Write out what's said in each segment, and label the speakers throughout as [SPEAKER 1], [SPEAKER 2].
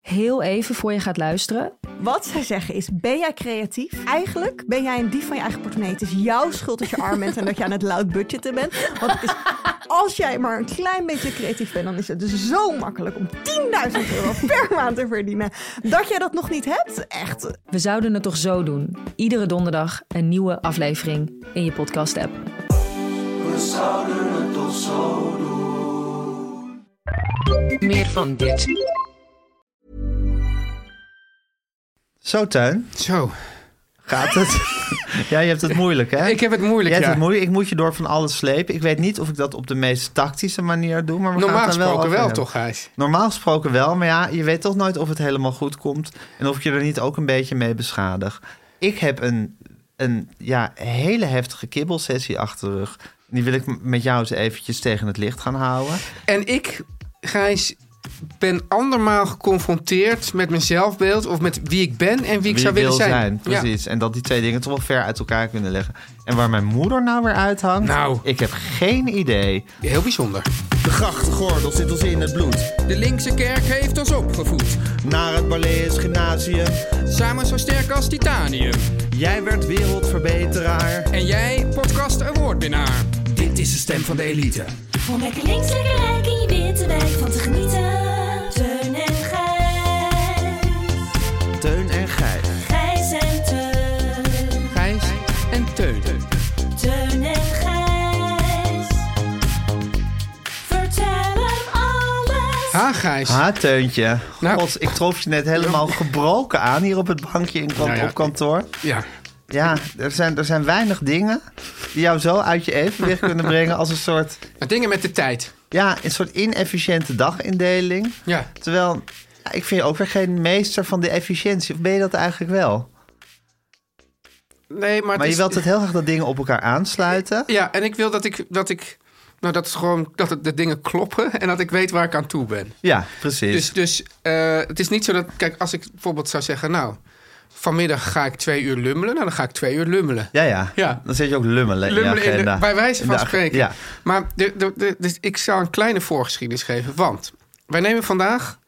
[SPEAKER 1] Heel even voor je gaat luisteren.
[SPEAKER 2] Wat zij zeggen is, ben jij creatief? Eigenlijk ben jij een dief van je eigen portemonnee. Het is jouw schuld dat je arm bent en dat je aan het loud budgetten bent. Want het is, als jij maar een klein beetje creatief bent, dan is het dus zo makkelijk om 10.000 euro per maand te verdienen. Dat jij dat nog niet hebt, echt.
[SPEAKER 1] We zouden het toch zo doen. Iedere donderdag een nieuwe aflevering in je podcast app.
[SPEAKER 3] Meer van dit.
[SPEAKER 4] Zo, Tuin.
[SPEAKER 5] Zo,
[SPEAKER 4] Gaat het? ja, je hebt het moeilijk, hè?
[SPEAKER 5] ik heb het
[SPEAKER 4] Jij
[SPEAKER 5] moeilijk,
[SPEAKER 4] hebt
[SPEAKER 5] ja.
[SPEAKER 4] het moeilijk. Ik moet je door van alles slepen. Ik weet niet of ik dat op de meest tactische manier doe, maar we
[SPEAKER 5] Normaal
[SPEAKER 4] gaan het daar
[SPEAKER 5] gesproken
[SPEAKER 4] wel
[SPEAKER 5] wel,
[SPEAKER 4] over
[SPEAKER 5] toch,
[SPEAKER 4] hebben.
[SPEAKER 5] Gijs?
[SPEAKER 4] Normaal gesproken wel, maar ja, je weet toch nooit of het helemaal goed komt en of ik je er niet ook een beetje mee beschadig. Ik heb een, een ja, hele heftige kibbelsessie achter de rug. Die wil ik m- met jou eens eventjes tegen het licht gaan houden.
[SPEAKER 5] En ik, Gijs, ben andermaal geconfronteerd met mijn zelfbeeld... of met wie ik ben en wie
[SPEAKER 4] Wie
[SPEAKER 5] ik zou
[SPEAKER 4] ik
[SPEAKER 5] willen
[SPEAKER 4] wil
[SPEAKER 5] zijn. Ja.
[SPEAKER 4] Precies. En dat die twee dingen toch wel ver uit elkaar kunnen leggen. En waar mijn moeder nou weer uithangt?
[SPEAKER 5] Nou.
[SPEAKER 4] Ik heb geen idee.
[SPEAKER 5] Heel bijzonder.
[SPEAKER 4] De grachtgordel zit ons in het bloed.
[SPEAKER 6] De linkse kerk heeft ons opgevoed.
[SPEAKER 4] Naar het Barlees Gymnasium.
[SPEAKER 6] Samen zo sterk als titanium.
[SPEAKER 4] Jij werd wereldverbeteraar.
[SPEAKER 6] En jij, podcast awardwinnaar. Dit is de stem van de elite.
[SPEAKER 7] Om lekker links, lekker rijk in je witte wijk van te genieten. Teun en Gijs.
[SPEAKER 4] Teun en Gijs.
[SPEAKER 7] Gijs en Teun.
[SPEAKER 5] Gijs en Teun.
[SPEAKER 7] Teun en Gijs. Vertel hem alles.
[SPEAKER 5] Ha, Gijs.
[SPEAKER 4] Ha, Ah, Teuntje.
[SPEAKER 5] Nou.
[SPEAKER 4] God, ik trof je net helemaal gebroken aan hier op het bankje in,
[SPEAKER 5] Nou ja.
[SPEAKER 4] op kantoor.
[SPEAKER 5] Ja.
[SPEAKER 4] Ja, er zijn, er zijn weinig dingen die jou zo uit je evenwicht kunnen brengen als een soort,
[SPEAKER 5] Maar dingen met de tijd.
[SPEAKER 4] ja, een soort inefficiënte dagindeling.
[SPEAKER 5] Ja.
[SPEAKER 4] Terwijl, ja, ik vind je ook weer geen meester van de efficiëntie. Of ben je dat eigenlijk wel?
[SPEAKER 5] Nee, maar, het
[SPEAKER 4] Maar je
[SPEAKER 5] is-
[SPEAKER 4] wilt het heel graag dat dingen op elkaar aansluiten.
[SPEAKER 5] Ja, en ik wil dat ik... Dat ik nou, dat is gewoon dat het- de dingen kloppen en dat ik weet waar ik aan toe ben.
[SPEAKER 4] Ja, precies.
[SPEAKER 5] Dus, dus eh, het is niet zo dat... Kijk, als ik bijvoorbeeld zou zeggen... Nou, vanmiddag ga ik twee uur lummelen. Nou, dan ga ik twee uur lummelen.
[SPEAKER 4] Ja, ja,
[SPEAKER 5] Ja.
[SPEAKER 4] Dan zet je ook lummelen,
[SPEAKER 5] Lummelen
[SPEAKER 4] in je
[SPEAKER 5] in de-
[SPEAKER 4] agenda.
[SPEAKER 5] bij wijze
[SPEAKER 4] In de
[SPEAKER 5] van
[SPEAKER 4] ag-
[SPEAKER 5] spreken.
[SPEAKER 4] Ja.
[SPEAKER 5] Maar de, de, de- dus ik zou een kleine voorgeschiedenis geven. Want wij nemen vandaag...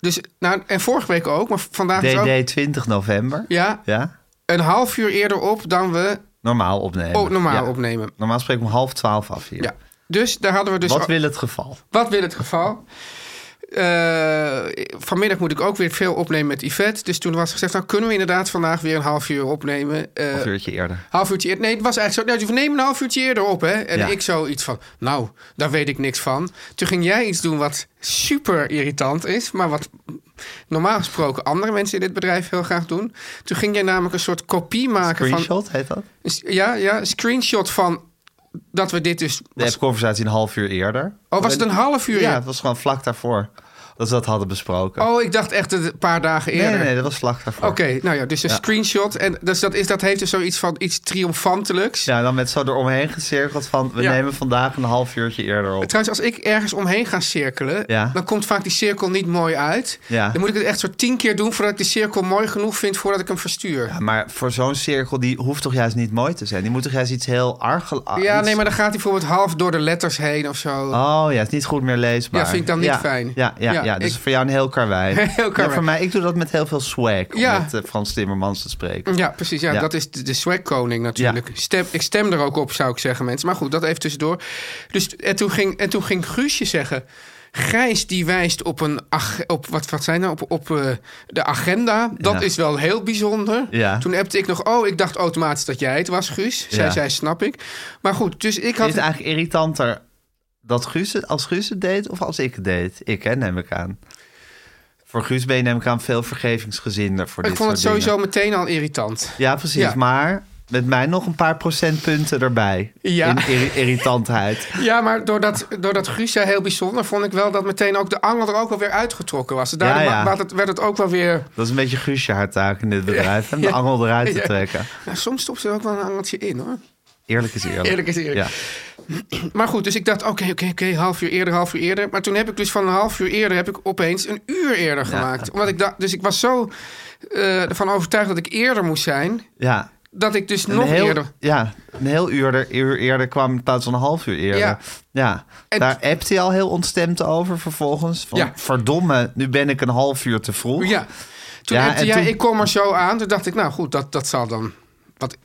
[SPEAKER 5] Dus, nou, en vorige week ook, maar vandaag is ook...
[SPEAKER 4] DD 20 november.
[SPEAKER 5] Ja,
[SPEAKER 4] Ja.
[SPEAKER 5] een half uur eerder op dan we
[SPEAKER 4] Normaal opnemen.
[SPEAKER 5] oh, normaal
[SPEAKER 4] Ja.
[SPEAKER 5] opnemen.
[SPEAKER 4] Normaal spreken we om half twaalf af hier.
[SPEAKER 5] Ja. Dus daar hadden we dus...
[SPEAKER 4] Wat wil het geval?
[SPEAKER 5] Wat wil het geval? Eh, vanmiddag moet ik ook weer veel opnemen met Yvette. Dus toen was gezegd, nou kunnen we inderdaad vandaag weer een half uur opnemen. Eh,
[SPEAKER 4] Een uurtje eerder.
[SPEAKER 5] half uurtje eerder. Nee, het was eigenlijk zo. Nou, we nemen een half uurtje eerder op, hè? En
[SPEAKER 4] Ja.
[SPEAKER 5] ik zoiets van, nou, daar weet ik niks van. Toen ging jij iets doen wat super irritant is, maar wat normaal gesproken andere mensen in dit bedrijf heel graag doen. Toen ging jij namelijk een soort kopie maken
[SPEAKER 4] Screenshot heet dat?
[SPEAKER 5] van. Ja, ja, een screenshot van dat we dit dus.
[SPEAKER 4] De
[SPEAKER 5] Was,
[SPEAKER 4] conversatie een half uur eerder.
[SPEAKER 5] oh, was het een half uur?
[SPEAKER 4] Ja, het was gewoon vlak daarvoor. Dat ze dat hadden besproken.
[SPEAKER 5] Oh, ik dacht echt dat het een paar dagen
[SPEAKER 4] nee,
[SPEAKER 5] eerder.
[SPEAKER 4] nee, nee, dat was vlak daarvoor.
[SPEAKER 5] Oké, nou ja, dus een screenshot. En dus dat, is, dat heeft dus zoiets van iets triomfantelijks.
[SPEAKER 4] Ja, dan met zo eromheen gecirkeld van... we
[SPEAKER 5] Ja.
[SPEAKER 4] nemen vandaag een half uurtje eerder op.
[SPEAKER 5] Trouwens, als ik ergens omheen ga cirkelen,
[SPEAKER 4] Ja.
[SPEAKER 5] dan komt vaak die cirkel niet mooi uit.
[SPEAKER 4] Ja.
[SPEAKER 5] Dan moet ik het echt zo tien keer doen voordat ik die cirkel mooi genoeg vind voordat ik hem verstuur. Ja,
[SPEAKER 4] Maar voor zo'n cirkel, die hoeft toch juist niet mooi te zijn? Die moet toch juist iets heel argel... iets-
[SPEAKER 5] nee, maar dan gaat hij bijvoorbeeld half door de letters heen of zo.
[SPEAKER 4] Oh ja, het is niet goed meer leesbaar.
[SPEAKER 5] Ja, vind ik dan niet fijn.
[SPEAKER 4] Ja, ja, ja,
[SPEAKER 5] Ja,
[SPEAKER 4] dus
[SPEAKER 5] ik-
[SPEAKER 4] voor jou een heel karwei.
[SPEAKER 5] Heel karwei.
[SPEAKER 4] Ja, voor mij, ik doe dat met heel veel swag, om
[SPEAKER 5] Ja.
[SPEAKER 4] met eh, Frans Timmermans te spreken.
[SPEAKER 5] Ja, precies. Ja,
[SPEAKER 4] Ja.
[SPEAKER 5] dat is de, de swagkoning natuurlijk. Stem, ik stem er ook op, zou ik zeggen, mensen. Maar goed, dat even tussendoor. Dus, en, toen ging, en toen ging Guusje zeggen... Gijs die wijst op een... ag- Op, wat, wat zijn nou? Op, op eh, de agenda. Dat
[SPEAKER 4] Ja.
[SPEAKER 5] is wel heel bijzonder.
[SPEAKER 4] Ja.
[SPEAKER 5] Toen appte ik nog... Oh, ik dacht automatisch dat jij het was, Guus. Zij
[SPEAKER 4] Ja.
[SPEAKER 5] zei, snap ik. Maar goed, dus ik had...
[SPEAKER 4] Is het eigenlijk irritanter dat Guus het, als Guus het deed of als ik het deed? Ik, hè, neem ik aan. Voor Guus ben je neem ik aan veel vergevingsgezinder voor
[SPEAKER 5] ik
[SPEAKER 4] dit
[SPEAKER 5] vond het
[SPEAKER 4] soort dingen.
[SPEAKER 5] sowieso meteen al irritant.
[SPEAKER 4] Ja, precies.
[SPEAKER 5] Ja.
[SPEAKER 4] Maar Met mij nog een paar procentpunten erbij.
[SPEAKER 5] Ja.
[SPEAKER 4] In irri- irritantheid.
[SPEAKER 5] Ja, maar doordat, doordat Guus zei heel bijzonder... vond ik wel dat meteen ook de angel er ook wel weer uitgetrokken was. Daardoor
[SPEAKER 4] Ja, ja.
[SPEAKER 5] wa- werd, het, werd het ook wel weer...
[SPEAKER 4] Dat is een beetje Guusje haar taak in dit bedrijf. Om de
[SPEAKER 5] Ja.
[SPEAKER 4] angel eruit te
[SPEAKER 5] Ja.
[SPEAKER 4] trekken.
[SPEAKER 5] Ja, soms stopt ze er ook wel een angeltje in, hoor.
[SPEAKER 4] Eerlijk is eerlijk.
[SPEAKER 5] Eerlijk is eerlijk.
[SPEAKER 4] Ja.
[SPEAKER 5] Maar goed, dus ik dacht, oké, oké, oké, half uur eerder, half uur eerder. Maar toen heb ik dus van een half uur eerder heb ik opeens een uur eerder gemaakt. Omdat ik dacht, dus ik was zo eh, ervan overtuigd dat ik eerder moest zijn,
[SPEAKER 4] ja.
[SPEAKER 5] dat ik dus
[SPEAKER 4] Een
[SPEAKER 5] nog
[SPEAKER 4] heel,
[SPEAKER 5] eerder.
[SPEAKER 4] Ja, een heel uur, er- uur eerder kwam in plaats van een half uur eerder. Ja.
[SPEAKER 5] Ja. En-
[SPEAKER 4] Daar appt hij al heel ontstemd over vervolgens. Van,
[SPEAKER 5] Ja.
[SPEAKER 4] Verdomme, nu ben ik een half uur te vroeg.
[SPEAKER 5] Ja. Toen
[SPEAKER 4] Ja,
[SPEAKER 5] heb
[SPEAKER 4] en
[SPEAKER 5] jij,
[SPEAKER 4] toen-
[SPEAKER 5] ik kom er zo aan. Toen dacht ik, nou goed, dat, dat zal dan. Wat,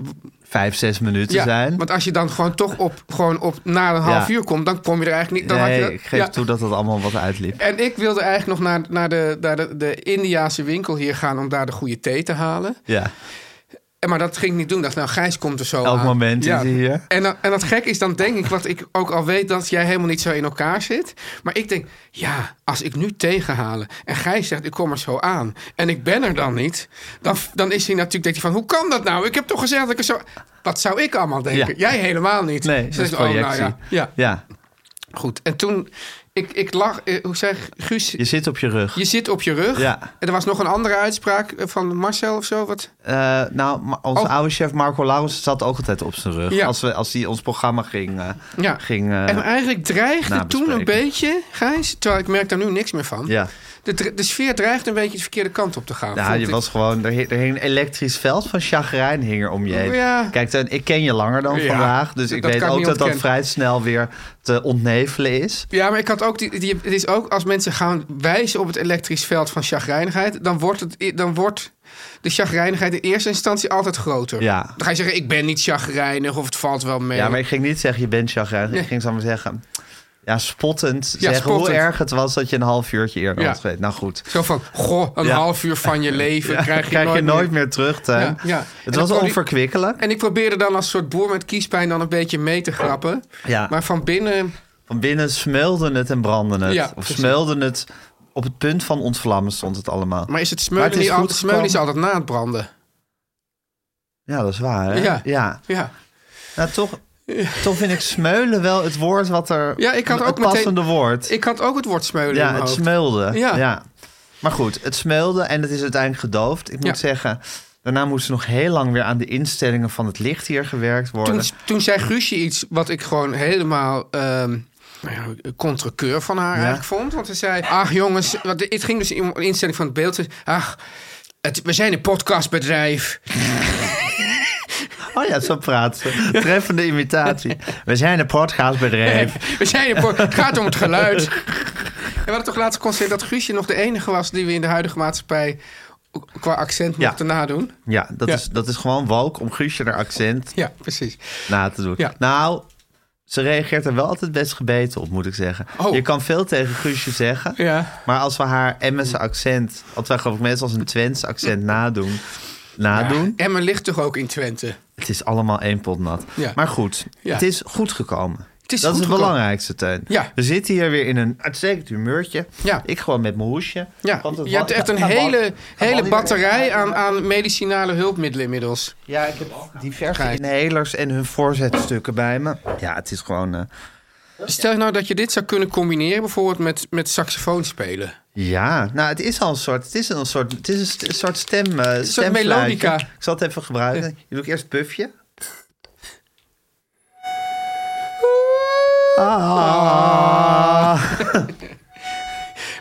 [SPEAKER 4] Vijf, zes minuten
[SPEAKER 5] ja,
[SPEAKER 4] zijn.
[SPEAKER 5] Want als je dan gewoon toch op, gewoon op na een half
[SPEAKER 4] Ja.
[SPEAKER 5] uur komt, dan kom je er eigenlijk niet. Dan had
[SPEAKER 4] nee,
[SPEAKER 5] je,
[SPEAKER 4] ik geef
[SPEAKER 5] ja.
[SPEAKER 4] toe dat dat allemaal wat uitliep.
[SPEAKER 5] En ik wilde eigenlijk nog naar, naar, de, naar de, de Indiaanse winkel hier gaan om daar de goede thee te halen.
[SPEAKER 4] Ja.
[SPEAKER 5] En maar dat ging ik niet doen. Ik dacht, nou, Gijs komt er zo
[SPEAKER 4] Elk
[SPEAKER 5] aan.
[SPEAKER 4] moment is hij hier.
[SPEAKER 5] En, dan- en dat gek is, dan denk ik, wat ik ook al weet, dat jij helemaal niet zo in elkaar zit. Maar ik denk, ja, als ik nu tegenhalen en Gijs zegt, ik kom er zo aan. En ik ben er dan niet. Dan, dan is hij natuurlijk, denkt hij van, hoe kan dat nou? Ik heb toch gezegd dat ik er zo... Wat zou ik allemaal denken?
[SPEAKER 4] Ja.
[SPEAKER 5] Jij helemaal niet.
[SPEAKER 4] Nee,
[SPEAKER 5] Dus
[SPEAKER 4] dat is
[SPEAKER 5] ik, oh, nou
[SPEAKER 4] projectie.
[SPEAKER 5] ja. ja,
[SPEAKER 4] Ja,
[SPEAKER 5] goed. En toen, ik, ik lag, eh, hoe zei Guus...
[SPEAKER 4] je zit op je rug.
[SPEAKER 5] Je zit op je rug.
[SPEAKER 4] Ja.
[SPEAKER 5] En er was nog een andere uitspraak eh, van Marcel of zo. Wat?
[SPEAKER 4] Eh, nou, ma- onze
[SPEAKER 5] Oh.
[SPEAKER 4] oude chef Marco Laurens zat ook altijd op zijn rug.
[SPEAKER 5] Ja.
[SPEAKER 4] Als, we, als hij ons programma ging... eh,
[SPEAKER 5] Ja.
[SPEAKER 4] ging eh,
[SPEAKER 5] en eigenlijk dreigde toen een
[SPEAKER 4] nabespreken.
[SPEAKER 5] beetje, Gijs, terwijl ik merk daar nu niks meer van.
[SPEAKER 4] ja.
[SPEAKER 5] De, dre- de sfeer dreigde een beetje de verkeerde kant op te gaan.
[SPEAKER 4] Ja,
[SPEAKER 5] vond
[SPEAKER 4] Nou, je
[SPEAKER 5] ik.
[SPEAKER 4] was gewoon, er, hing- er hing een elektrisch veld van chagrijn hing er om je heen.
[SPEAKER 5] Ja.
[SPEAKER 4] Kijk, Teun, ik ken je langer dan
[SPEAKER 5] Ja,
[SPEAKER 4] vandaag, dus
[SPEAKER 5] dat
[SPEAKER 4] ik
[SPEAKER 5] kan
[SPEAKER 4] weet
[SPEAKER 5] ik
[SPEAKER 4] ook
[SPEAKER 5] niet
[SPEAKER 4] dat dat
[SPEAKER 5] ontkennen.
[SPEAKER 4] vrij snel weer te ontnevelen is.
[SPEAKER 5] Ja, maar ik had ook die, die, het is ook als mensen gaan wijzen op het elektrisch veld van chagrijnigheid, dan wordt, het, dan wordt de chagrijnigheid in eerste instantie altijd groter.
[SPEAKER 4] Ja.
[SPEAKER 5] Dan ga je zeggen, ik ben niet chagrijnig of het valt wel mee.
[SPEAKER 4] Ja, maar ik ging niet zeggen, je bent chagrijn.
[SPEAKER 5] Nee.
[SPEAKER 4] Ik ging zo maar zeggen, ja, spottend
[SPEAKER 5] Ja,
[SPEAKER 4] zeggen hoe
[SPEAKER 5] spottend.
[SPEAKER 4] erg het was dat je een half uurtje eerder
[SPEAKER 5] Ja.
[SPEAKER 4] had geweten. Nou goed,
[SPEAKER 5] Zo van, goh, een
[SPEAKER 4] Ja.
[SPEAKER 5] half uur van je leven krijg je, nooit, meer.
[SPEAKER 4] meer terug, Teun.
[SPEAKER 5] Ja, ja. En
[SPEAKER 4] Het
[SPEAKER 5] dan
[SPEAKER 4] was
[SPEAKER 5] kon die-
[SPEAKER 4] onverkwikkelijk.
[SPEAKER 5] En ik probeerde dan als soort boer met kiespijn dan een beetje mee te grappen.
[SPEAKER 4] Ja.
[SPEAKER 5] Maar van binnen
[SPEAKER 4] Van binnen smeulde het en brandde het.
[SPEAKER 5] Ja,
[SPEAKER 4] of
[SPEAKER 5] precies.
[SPEAKER 4] smeulde het, op het punt van ontvlammen stond het allemaal.
[SPEAKER 5] Maar is het
[SPEAKER 4] Maar
[SPEAKER 5] smeulen
[SPEAKER 4] het is
[SPEAKER 5] niet
[SPEAKER 4] goed
[SPEAKER 5] altijd? Smeulen is
[SPEAKER 4] gekomen.
[SPEAKER 5] altijd na het branden.
[SPEAKER 4] Ja, dat is waar, hè?
[SPEAKER 5] Ja.
[SPEAKER 4] ja.
[SPEAKER 5] Ja.
[SPEAKER 4] Nou, toch, toch vind ik smeulen wel het woord wat er...
[SPEAKER 5] Ja, ik had
[SPEAKER 4] het
[SPEAKER 5] ook meteen-
[SPEAKER 4] passende woord.
[SPEAKER 5] Ik had ook het woord smeulen in
[SPEAKER 4] ja,
[SPEAKER 5] mijn
[SPEAKER 4] het
[SPEAKER 5] hoofd.
[SPEAKER 4] smeulde. Ja.
[SPEAKER 5] Ja.
[SPEAKER 4] Maar goed, het smeulde en het is uiteindelijk gedoofd. Ik moet
[SPEAKER 5] Ja.
[SPEAKER 4] zeggen, daarna moest er nog heel lang weer aan de instellingen van het licht hier gewerkt worden.
[SPEAKER 5] Toen, toen zei Guusje iets wat ik gewoon helemaal ehm nou ja, contrakeur van haar eigenlijk vond. Want ze zei, ach jongens, want het ging dus om de instelling van het beeld. Ze zei, Ach, het, we zijn een podcastbedrijf.
[SPEAKER 4] Oh ja, zo praat ze. Treffende imitatie. We zijn een podcastbedrijf.
[SPEAKER 5] We zijn een po- het gaat om het geluid. En we hadden toch laatst constateerd dat Guusje nog de enige was... die we in de huidige maatschappij qua accent
[SPEAKER 4] Ja.
[SPEAKER 5] mochten nadoen.
[SPEAKER 4] Ja, dat,
[SPEAKER 5] Ja.
[SPEAKER 4] Is, dat is gewoon woke om Guusje haar accent
[SPEAKER 5] Ja, precies.
[SPEAKER 4] na te doen.
[SPEAKER 5] Ja.
[SPEAKER 4] Nou, ze reageert er wel altijd best gebeten op, moet ik zeggen.
[SPEAKER 5] Oh.
[SPEAKER 4] Je kan veel tegen Guusje zeggen.
[SPEAKER 5] Ja.
[SPEAKER 4] Maar als we haar Emmense accent, wat wij geloof ik meestal als een Twents accent nadoen, nadoen
[SPEAKER 5] Emma ligt toch ook in Twente?
[SPEAKER 4] het is allemaal één pot nat.
[SPEAKER 5] Ja.
[SPEAKER 4] Maar goed,
[SPEAKER 5] Ja.
[SPEAKER 4] het is goed gekomen.
[SPEAKER 5] Het is
[SPEAKER 4] dat
[SPEAKER 5] goed
[SPEAKER 4] is het
[SPEAKER 5] gekomen.
[SPEAKER 4] belangrijkste, Teun.
[SPEAKER 5] Ja.
[SPEAKER 4] We zitten hier weer in een uitstekend humeurtje.
[SPEAKER 5] Ja.
[SPEAKER 4] Ik gewoon met mijn hoesje.
[SPEAKER 5] Ja,
[SPEAKER 4] Want het
[SPEAKER 5] je hebt
[SPEAKER 4] wa-
[SPEAKER 5] echt een
[SPEAKER 4] nou,
[SPEAKER 5] hele,
[SPEAKER 4] nou,
[SPEAKER 5] hele
[SPEAKER 4] nou,
[SPEAKER 5] batterij
[SPEAKER 4] nou,
[SPEAKER 5] aan, aan medicinale hulpmiddelen inmiddels.
[SPEAKER 4] Ja, ik heb diverse
[SPEAKER 5] Kijk.
[SPEAKER 4] inhalers en hun voorzetstukken bij me. Ja, het is gewoon... eh,
[SPEAKER 5] Stel je nou dat je dit zou kunnen combineren bijvoorbeeld met, met saxofoon spelen.
[SPEAKER 4] ja, nou, het is al een soort... Het is een soort, het is een st- een soort stem... eh, stemfluitje.
[SPEAKER 5] melodica.
[SPEAKER 4] Ik zal het even gebruiken. Je doet eerst puffje.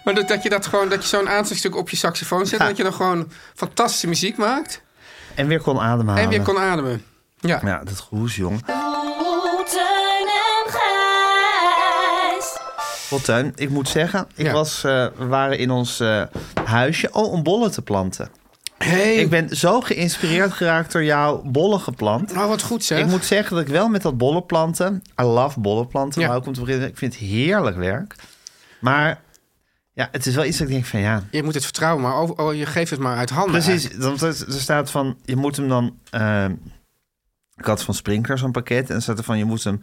[SPEAKER 5] Maar dat, dat je dat gewoon, dat je zo'n aanzetstuk op je saxofoon
[SPEAKER 4] Ja.
[SPEAKER 5] zet en dat je dan gewoon fantastische muziek maakt
[SPEAKER 4] En weer kon ademhalen.
[SPEAKER 5] en weer kon ademen. Ja.
[SPEAKER 4] Ja, dat gehoes, jong.
[SPEAKER 7] Oeh, Teun en Gijs.
[SPEAKER 4] Fortuin, ik moet zeggen, ik
[SPEAKER 5] Ja.
[SPEAKER 4] was, eh, we waren in ons eh, huisje oh, om bollen te planten.
[SPEAKER 5] Hey,
[SPEAKER 4] Ik ben zo geïnspireerd geraakt door jouw bollengeplant.
[SPEAKER 5] nou wat goed zeg.
[SPEAKER 4] Ik moet zeggen dat ik wel met dat bollen planten, I love bollen planten,
[SPEAKER 5] Ja.
[SPEAKER 4] maar ook om te beginnen, ik vind het heerlijk werk. Maar ja, het is wel iets dat ik denk van ja,
[SPEAKER 5] Je moet het vertrouwen, maar over, oh, je geeft het maar uit handen.
[SPEAKER 4] precies.
[SPEAKER 5] eigenlijk.
[SPEAKER 4] Want er, er staat van, je moet hem dan, eh, ik had van Sprinkler zo'n pakket en er staat er van, je moet hem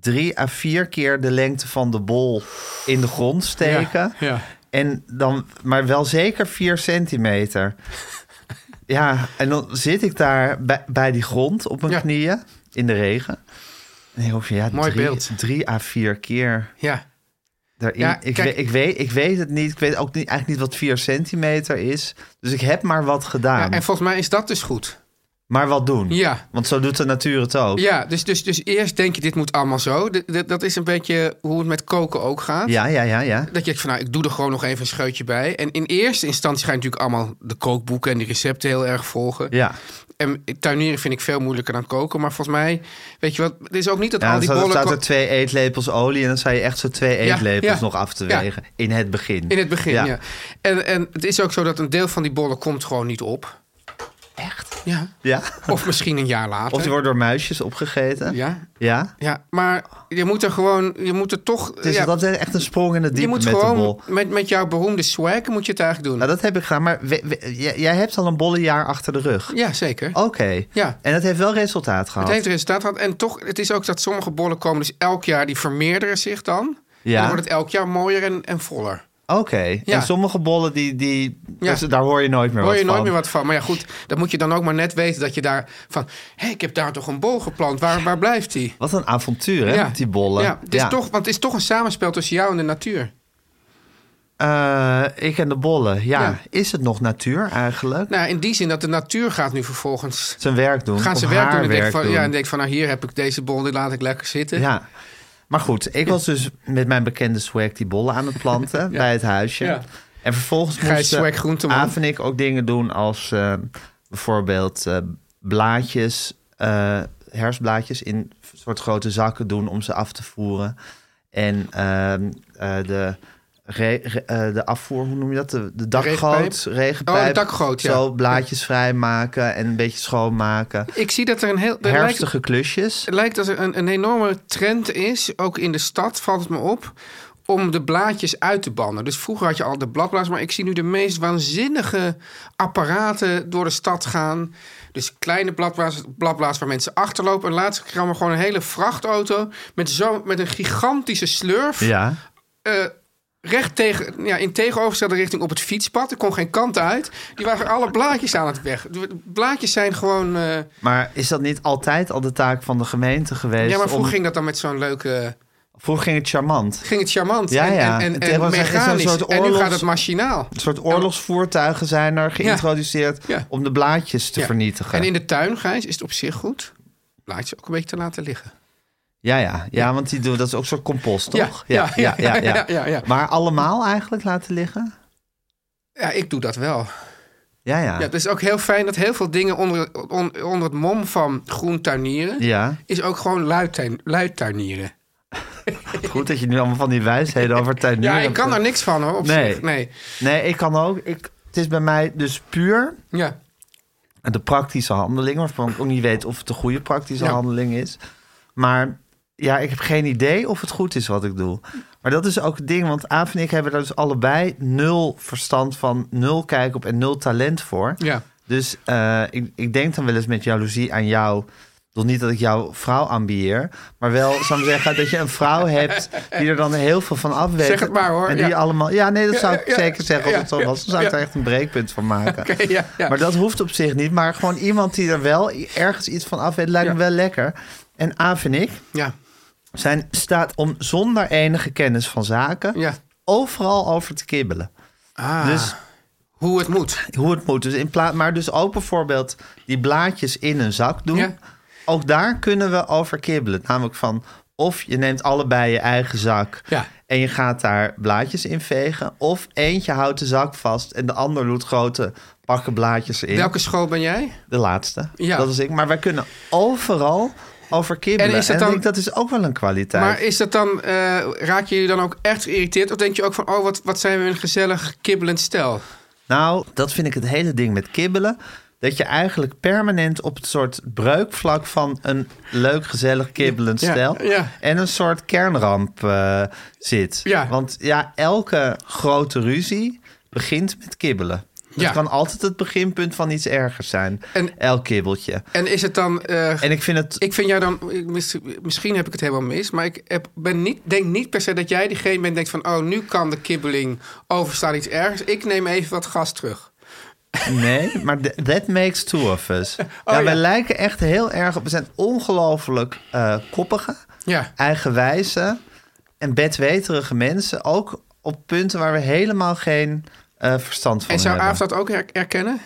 [SPEAKER 4] drie à vier keer de lengte van de bol in de grond steken.
[SPEAKER 5] Ja. ja.
[SPEAKER 4] En dan, maar wel zeker 4 centimeter. Ja, en dan zit ik daar bij, bij die grond op mijn
[SPEAKER 5] Ja.
[SPEAKER 4] knieën in de regen. En ik hoop van ja,
[SPEAKER 5] Mooi
[SPEAKER 4] drie,
[SPEAKER 5] beeld.
[SPEAKER 4] drie à vier keer
[SPEAKER 5] Ja.
[SPEAKER 4] daarin.
[SPEAKER 5] Ja,
[SPEAKER 4] ik,
[SPEAKER 5] kijk-
[SPEAKER 4] weet, ik, weet, ik weet het niet. Ik weet ook niet, eigenlijk niet wat vier centimeter is. Dus ik heb maar wat
[SPEAKER 5] ja.
[SPEAKER 4] gedaan.
[SPEAKER 5] En volgens mij is dat dus goed.
[SPEAKER 4] maar wat doen.
[SPEAKER 5] Ja.
[SPEAKER 4] Want zo doet de natuur het ook.
[SPEAKER 5] Ja, dus, dus, dus eerst denk je, dit moet allemaal zo. D- d- dat is een beetje hoe het met koken ook gaat.
[SPEAKER 4] ja, ja, ja. ja.
[SPEAKER 5] Dat je denkt van, nou, ik doe er gewoon nog even een scheutje bij. En in eerste instantie ga je natuurlijk allemaal de kookboeken en de recepten heel erg volgen.
[SPEAKER 4] Ja,
[SPEAKER 5] En tuinieren vind ik veel moeilijker dan koken. Maar volgens mij, weet je wat, het is ook niet dat
[SPEAKER 4] ja
[SPEAKER 5] al
[SPEAKER 4] dan
[SPEAKER 5] die
[SPEAKER 4] staat,
[SPEAKER 5] bollen...
[SPEAKER 4] staat er
[SPEAKER 5] ko-
[SPEAKER 4] twee eetlepels olie en dan zou je echt zo twee
[SPEAKER 5] Ja,
[SPEAKER 4] eetlepels
[SPEAKER 5] ja.
[SPEAKER 4] nog af te wegen. In het begin.
[SPEAKER 5] In het begin, ja. En, en het is ook zo dat een deel van die bollen komt gewoon niet op. Echt? Ja.
[SPEAKER 4] Ja.
[SPEAKER 5] Of misschien een jaar later.
[SPEAKER 4] Of die worden door muisjes opgegeten.
[SPEAKER 5] Ja.
[SPEAKER 4] Ja?
[SPEAKER 5] Ja, maar je moet er gewoon, je moet er toch...
[SPEAKER 4] Het is
[SPEAKER 5] ja,
[SPEAKER 4] altijd echt een sprong in het diepe
[SPEAKER 5] je moet
[SPEAKER 4] met
[SPEAKER 5] gewoon
[SPEAKER 4] de bol.
[SPEAKER 5] Met, met jouw beroemde swag moet je het eigenlijk doen.
[SPEAKER 4] Nou, dat heb ik gedaan, maar we- we- j- jij hebt al een bolle jaar achter de rug.
[SPEAKER 5] Ja, zeker.
[SPEAKER 4] Oké.
[SPEAKER 5] Ja.
[SPEAKER 4] En dat heeft wel resultaat
[SPEAKER 5] Het
[SPEAKER 4] gehad.
[SPEAKER 5] heeft resultaat gehad. En toch, het is ook dat sommige bollen komen dus elk jaar, die vermeerderen zich dan.
[SPEAKER 4] Ja.
[SPEAKER 5] En dan wordt het elk jaar mooier en, en voller.
[SPEAKER 4] Oké.
[SPEAKER 5] Ja.
[SPEAKER 4] En sommige bollen, die, die,
[SPEAKER 5] Ja.
[SPEAKER 4] dus daar hoor je nooit meer
[SPEAKER 5] Hoor
[SPEAKER 4] wat
[SPEAKER 5] je
[SPEAKER 4] van.
[SPEAKER 5] nooit meer wat van. Maar ja, goed, dat moet je dan ook maar net weten dat je daar van... Hé, ik heb daar toch een bol geplant. Waar, waar blijft die?
[SPEAKER 4] Wat een avontuur, hè, met die bollen.
[SPEAKER 5] Ja, het is Toch, want het is toch een samenspel tussen jou en de natuur.
[SPEAKER 4] Eh, ik en de bollen, ja.
[SPEAKER 5] Ja.
[SPEAKER 4] Is het nog natuur eigenlijk?
[SPEAKER 5] Nou, in die zin dat de natuur gaat nu vervolgens...
[SPEAKER 4] Zijn werk doen.
[SPEAKER 5] Gaan ze
[SPEAKER 4] of
[SPEAKER 5] werk
[SPEAKER 4] haar
[SPEAKER 5] doen en denkt
[SPEAKER 4] werk
[SPEAKER 5] van,
[SPEAKER 4] doen.
[SPEAKER 5] ja, en denkt van, nou hier heb ik deze bol, die laat ik lekker zitten.
[SPEAKER 4] Ja. Maar goed, ik was dus met mijn bekende swag die bollen aan het planten bij het huisje.
[SPEAKER 5] Ja.
[SPEAKER 4] En vervolgens
[SPEAKER 5] Gijs
[SPEAKER 4] moesten
[SPEAKER 5] Swag Groenteman.
[SPEAKER 4] Aaf en ik ook dingen doen als eh, bijvoorbeeld eh, blaadjes, eh hersblaadjes in soort grote zakken doen om ze af te voeren. En ehm, eh, de, re- re- eh, de afvoer, hoe noem je dat? De, de dakgoot,
[SPEAKER 5] regenpijp?
[SPEAKER 4] regenpijp.
[SPEAKER 5] Oh, de dakgoot, ja.
[SPEAKER 4] Zo blaadjes vrijmaken en een beetje schoonmaken.
[SPEAKER 5] Ik zie dat er een heel... er lijkt-
[SPEAKER 4] Herfstige klusjes.
[SPEAKER 5] Het lijkt dat er een, een enorme trend is, ook in de stad valt het me op, om de blaadjes uit te bannen. Dus vroeger had je al de bladblaas, maar ik zie nu de meest waanzinnige apparaten door de stad gaan. Dus kleine bladblaas, bladblaas waar mensen achterlopen. En laatst kwam er gewoon een hele vrachtauto met, zo, met een gigantische slurf.
[SPEAKER 4] Ja.
[SPEAKER 5] eh, recht tegen, ja, in tegenovergestelde richting op het fietspad. Er kon geen kant uit. Die waren alle blaadjes aan het weg. De blaadjes zijn gewoon... eh,
[SPEAKER 4] Maar is dat niet altijd al de taak van de gemeente geweest?
[SPEAKER 5] ja, maar
[SPEAKER 4] om-
[SPEAKER 5] vroeger ging dat dan met zo'n leuke...
[SPEAKER 4] vroeger ging het charmant.
[SPEAKER 5] ging het charmant
[SPEAKER 4] Ja,
[SPEAKER 5] en,
[SPEAKER 4] ja.
[SPEAKER 5] en, en,
[SPEAKER 4] Het
[SPEAKER 5] en
[SPEAKER 4] was- het is een
[SPEAKER 5] mechanisch.
[SPEAKER 4] soort
[SPEAKER 5] en nu
[SPEAKER 4] oorlogs-
[SPEAKER 5] gaat het machinaal.
[SPEAKER 4] Een soort oorlogsvoertuigen zijn er geïntroduceerd
[SPEAKER 5] Ja.
[SPEAKER 4] om de blaadjes te
[SPEAKER 5] Ja.
[SPEAKER 4] vernietigen.
[SPEAKER 5] En in de tuin, Gijs, is het op zich goed. Blaadjes ook een beetje te laten liggen.
[SPEAKER 4] Ja, ja, ja, want die doen, dat is ook zo'n compost,
[SPEAKER 5] Ja,
[SPEAKER 4] toch?
[SPEAKER 5] ja, ja, ja, ja, ja.
[SPEAKER 4] Maar allemaal eigenlijk laten liggen?
[SPEAKER 5] Ja, ik doe dat wel.
[SPEAKER 4] Ja, ja.
[SPEAKER 5] Ja,
[SPEAKER 4] Ja,
[SPEAKER 5] het is ook heel fijn dat heel veel dingen onder, on- onder het mom van groen tuinieren... is ook gewoon luid, tuin- luid tuinieren.
[SPEAKER 4] goed dat je nu allemaal van die wijsheden over tuinieren...
[SPEAKER 5] Ja, ik kan daar niks van hoor, op
[SPEAKER 4] Nee.
[SPEAKER 5] zich. Nee.
[SPEAKER 4] Nee, ik kan ook. Ik, het is bij mij dus puur
[SPEAKER 5] Ja.
[SPEAKER 4] de praktische handeling... waarvan ik ook niet weet of het de goede praktische
[SPEAKER 5] Ja.
[SPEAKER 4] handeling is. Maar ja, ik heb geen idee of het goed is wat ik doe. Maar dat is ook het ding, want Aaf en ik hebben daar dus allebei... nul verstand van, nul kijk op en nul talent voor.
[SPEAKER 5] Ja.
[SPEAKER 4] Dus eh, ik, ik denk dan wel eens met jaloezie aan jou. Toch niet dat ik jouw vrouw ambieer. Maar wel, zou ik zeggen, dat je een vrouw hebt die er dan heel veel van af weet.
[SPEAKER 5] Zeg het maar, hoor,
[SPEAKER 4] En die
[SPEAKER 5] ja.
[SPEAKER 4] allemaal. Ja, nee, dat zou ik
[SPEAKER 5] ja, ja,
[SPEAKER 4] zeker zeggen als
[SPEAKER 5] ja,
[SPEAKER 4] het zo
[SPEAKER 5] ja,
[SPEAKER 4] was. Dan zou ik
[SPEAKER 5] ja.
[SPEAKER 4] er echt een breekpunt van maken.
[SPEAKER 5] Oké, ja, ja.
[SPEAKER 4] Maar dat hoeft op zich niet. Maar gewoon iemand die er wel ergens iets van af weet, lijkt
[SPEAKER 5] Ja.
[SPEAKER 4] me wel lekker. En A vind ik,
[SPEAKER 5] Ja.
[SPEAKER 4] zijn staat om zonder enige kennis van zaken
[SPEAKER 5] Ja.
[SPEAKER 4] overal over te kibbelen.
[SPEAKER 5] Ah,
[SPEAKER 4] Dus
[SPEAKER 5] hoe het moet.
[SPEAKER 4] hoe het moet. Dus in plaats, maar dus ook bijvoorbeeld die blaadjes in een zak doen.
[SPEAKER 5] Ja.
[SPEAKER 4] Ook daar kunnen we over kibbelen. Namelijk van of je neemt allebei je eigen zak
[SPEAKER 5] Ja.
[SPEAKER 4] en je gaat daar blaadjes in vegen. Of eentje houdt de zak vast en de ander doet grote pakken blaadjes in.
[SPEAKER 5] Welke school ben jij?
[SPEAKER 4] De laatste.
[SPEAKER 5] Ja.
[SPEAKER 4] Dat is ik. Maar wij kunnen overal over kibbelen.
[SPEAKER 5] En
[SPEAKER 4] En,
[SPEAKER 5] is het
[SPEAKER 4] ik
[SPEAKER 5] dan-
[SPEAKER 4] denk dat is ook wel een kwaliteit.
[SPEAKER 5] Maar is dat dan, eh raak je je dan ook echt geïrriteerd? Of denk je ook van, oh, wat, wat zijn we een gezellig kibbelend stel?
[SPEAKER 4] Nou, dat vind ik het hele ding met kibbelen. Dat je eigenlijk permanent op het soort breukvlak van een leuk, gezellig kibbelend
[SPEAKER 5] Ja,
[SPEAKER 4] stijl.
[SPEAKER 5] ja.
[SPEAKER 4] en een soort kernramp eh, zit.
[SPEAKER 5] Ja.
[SPEAKER 4] Want ja, elke grote ruzie begint met kibbelen. Dat
[SPEAKER 5] Ja.
[SPEAKER 4] kan altijd het beginpunt van iets ergers zijn.
[SPEAKER 5] En-
[SPEAKER 4] Elk kibbeltje.
[SPEAKER 5] En is het dan... eh,
[SPEAKER 4] En ik vind het.
[SPEAKER 5] ik vind jou dan... ik- mis- Misschien heb ik het helemaal mis, maar ik heb, ben niet, denk niet per se dat jij diegene bent denkt van... oh, nu kan de kibbeling overstaan iets ergs. Ik neem even wat gas terug.
[SPEAKER 4] Nee, maar th- that makes two of us. ja,
[SPEAKER 5] Oh ja.
[SPEAKER 4] wij lijken echt heel erg op... We zijn ongelooflijk eh koppige,
[SPEAKER 5] Ja.
[SPEAKER 4] eigenwijze en bedweterige mensen. Ook op punten waar we helemaal geen eh, verstand van
[SPEAKER 5] En zou
[SPEAKER 4] hebben.
[SPEAKER 5] Aaf dat ook her- herkennen?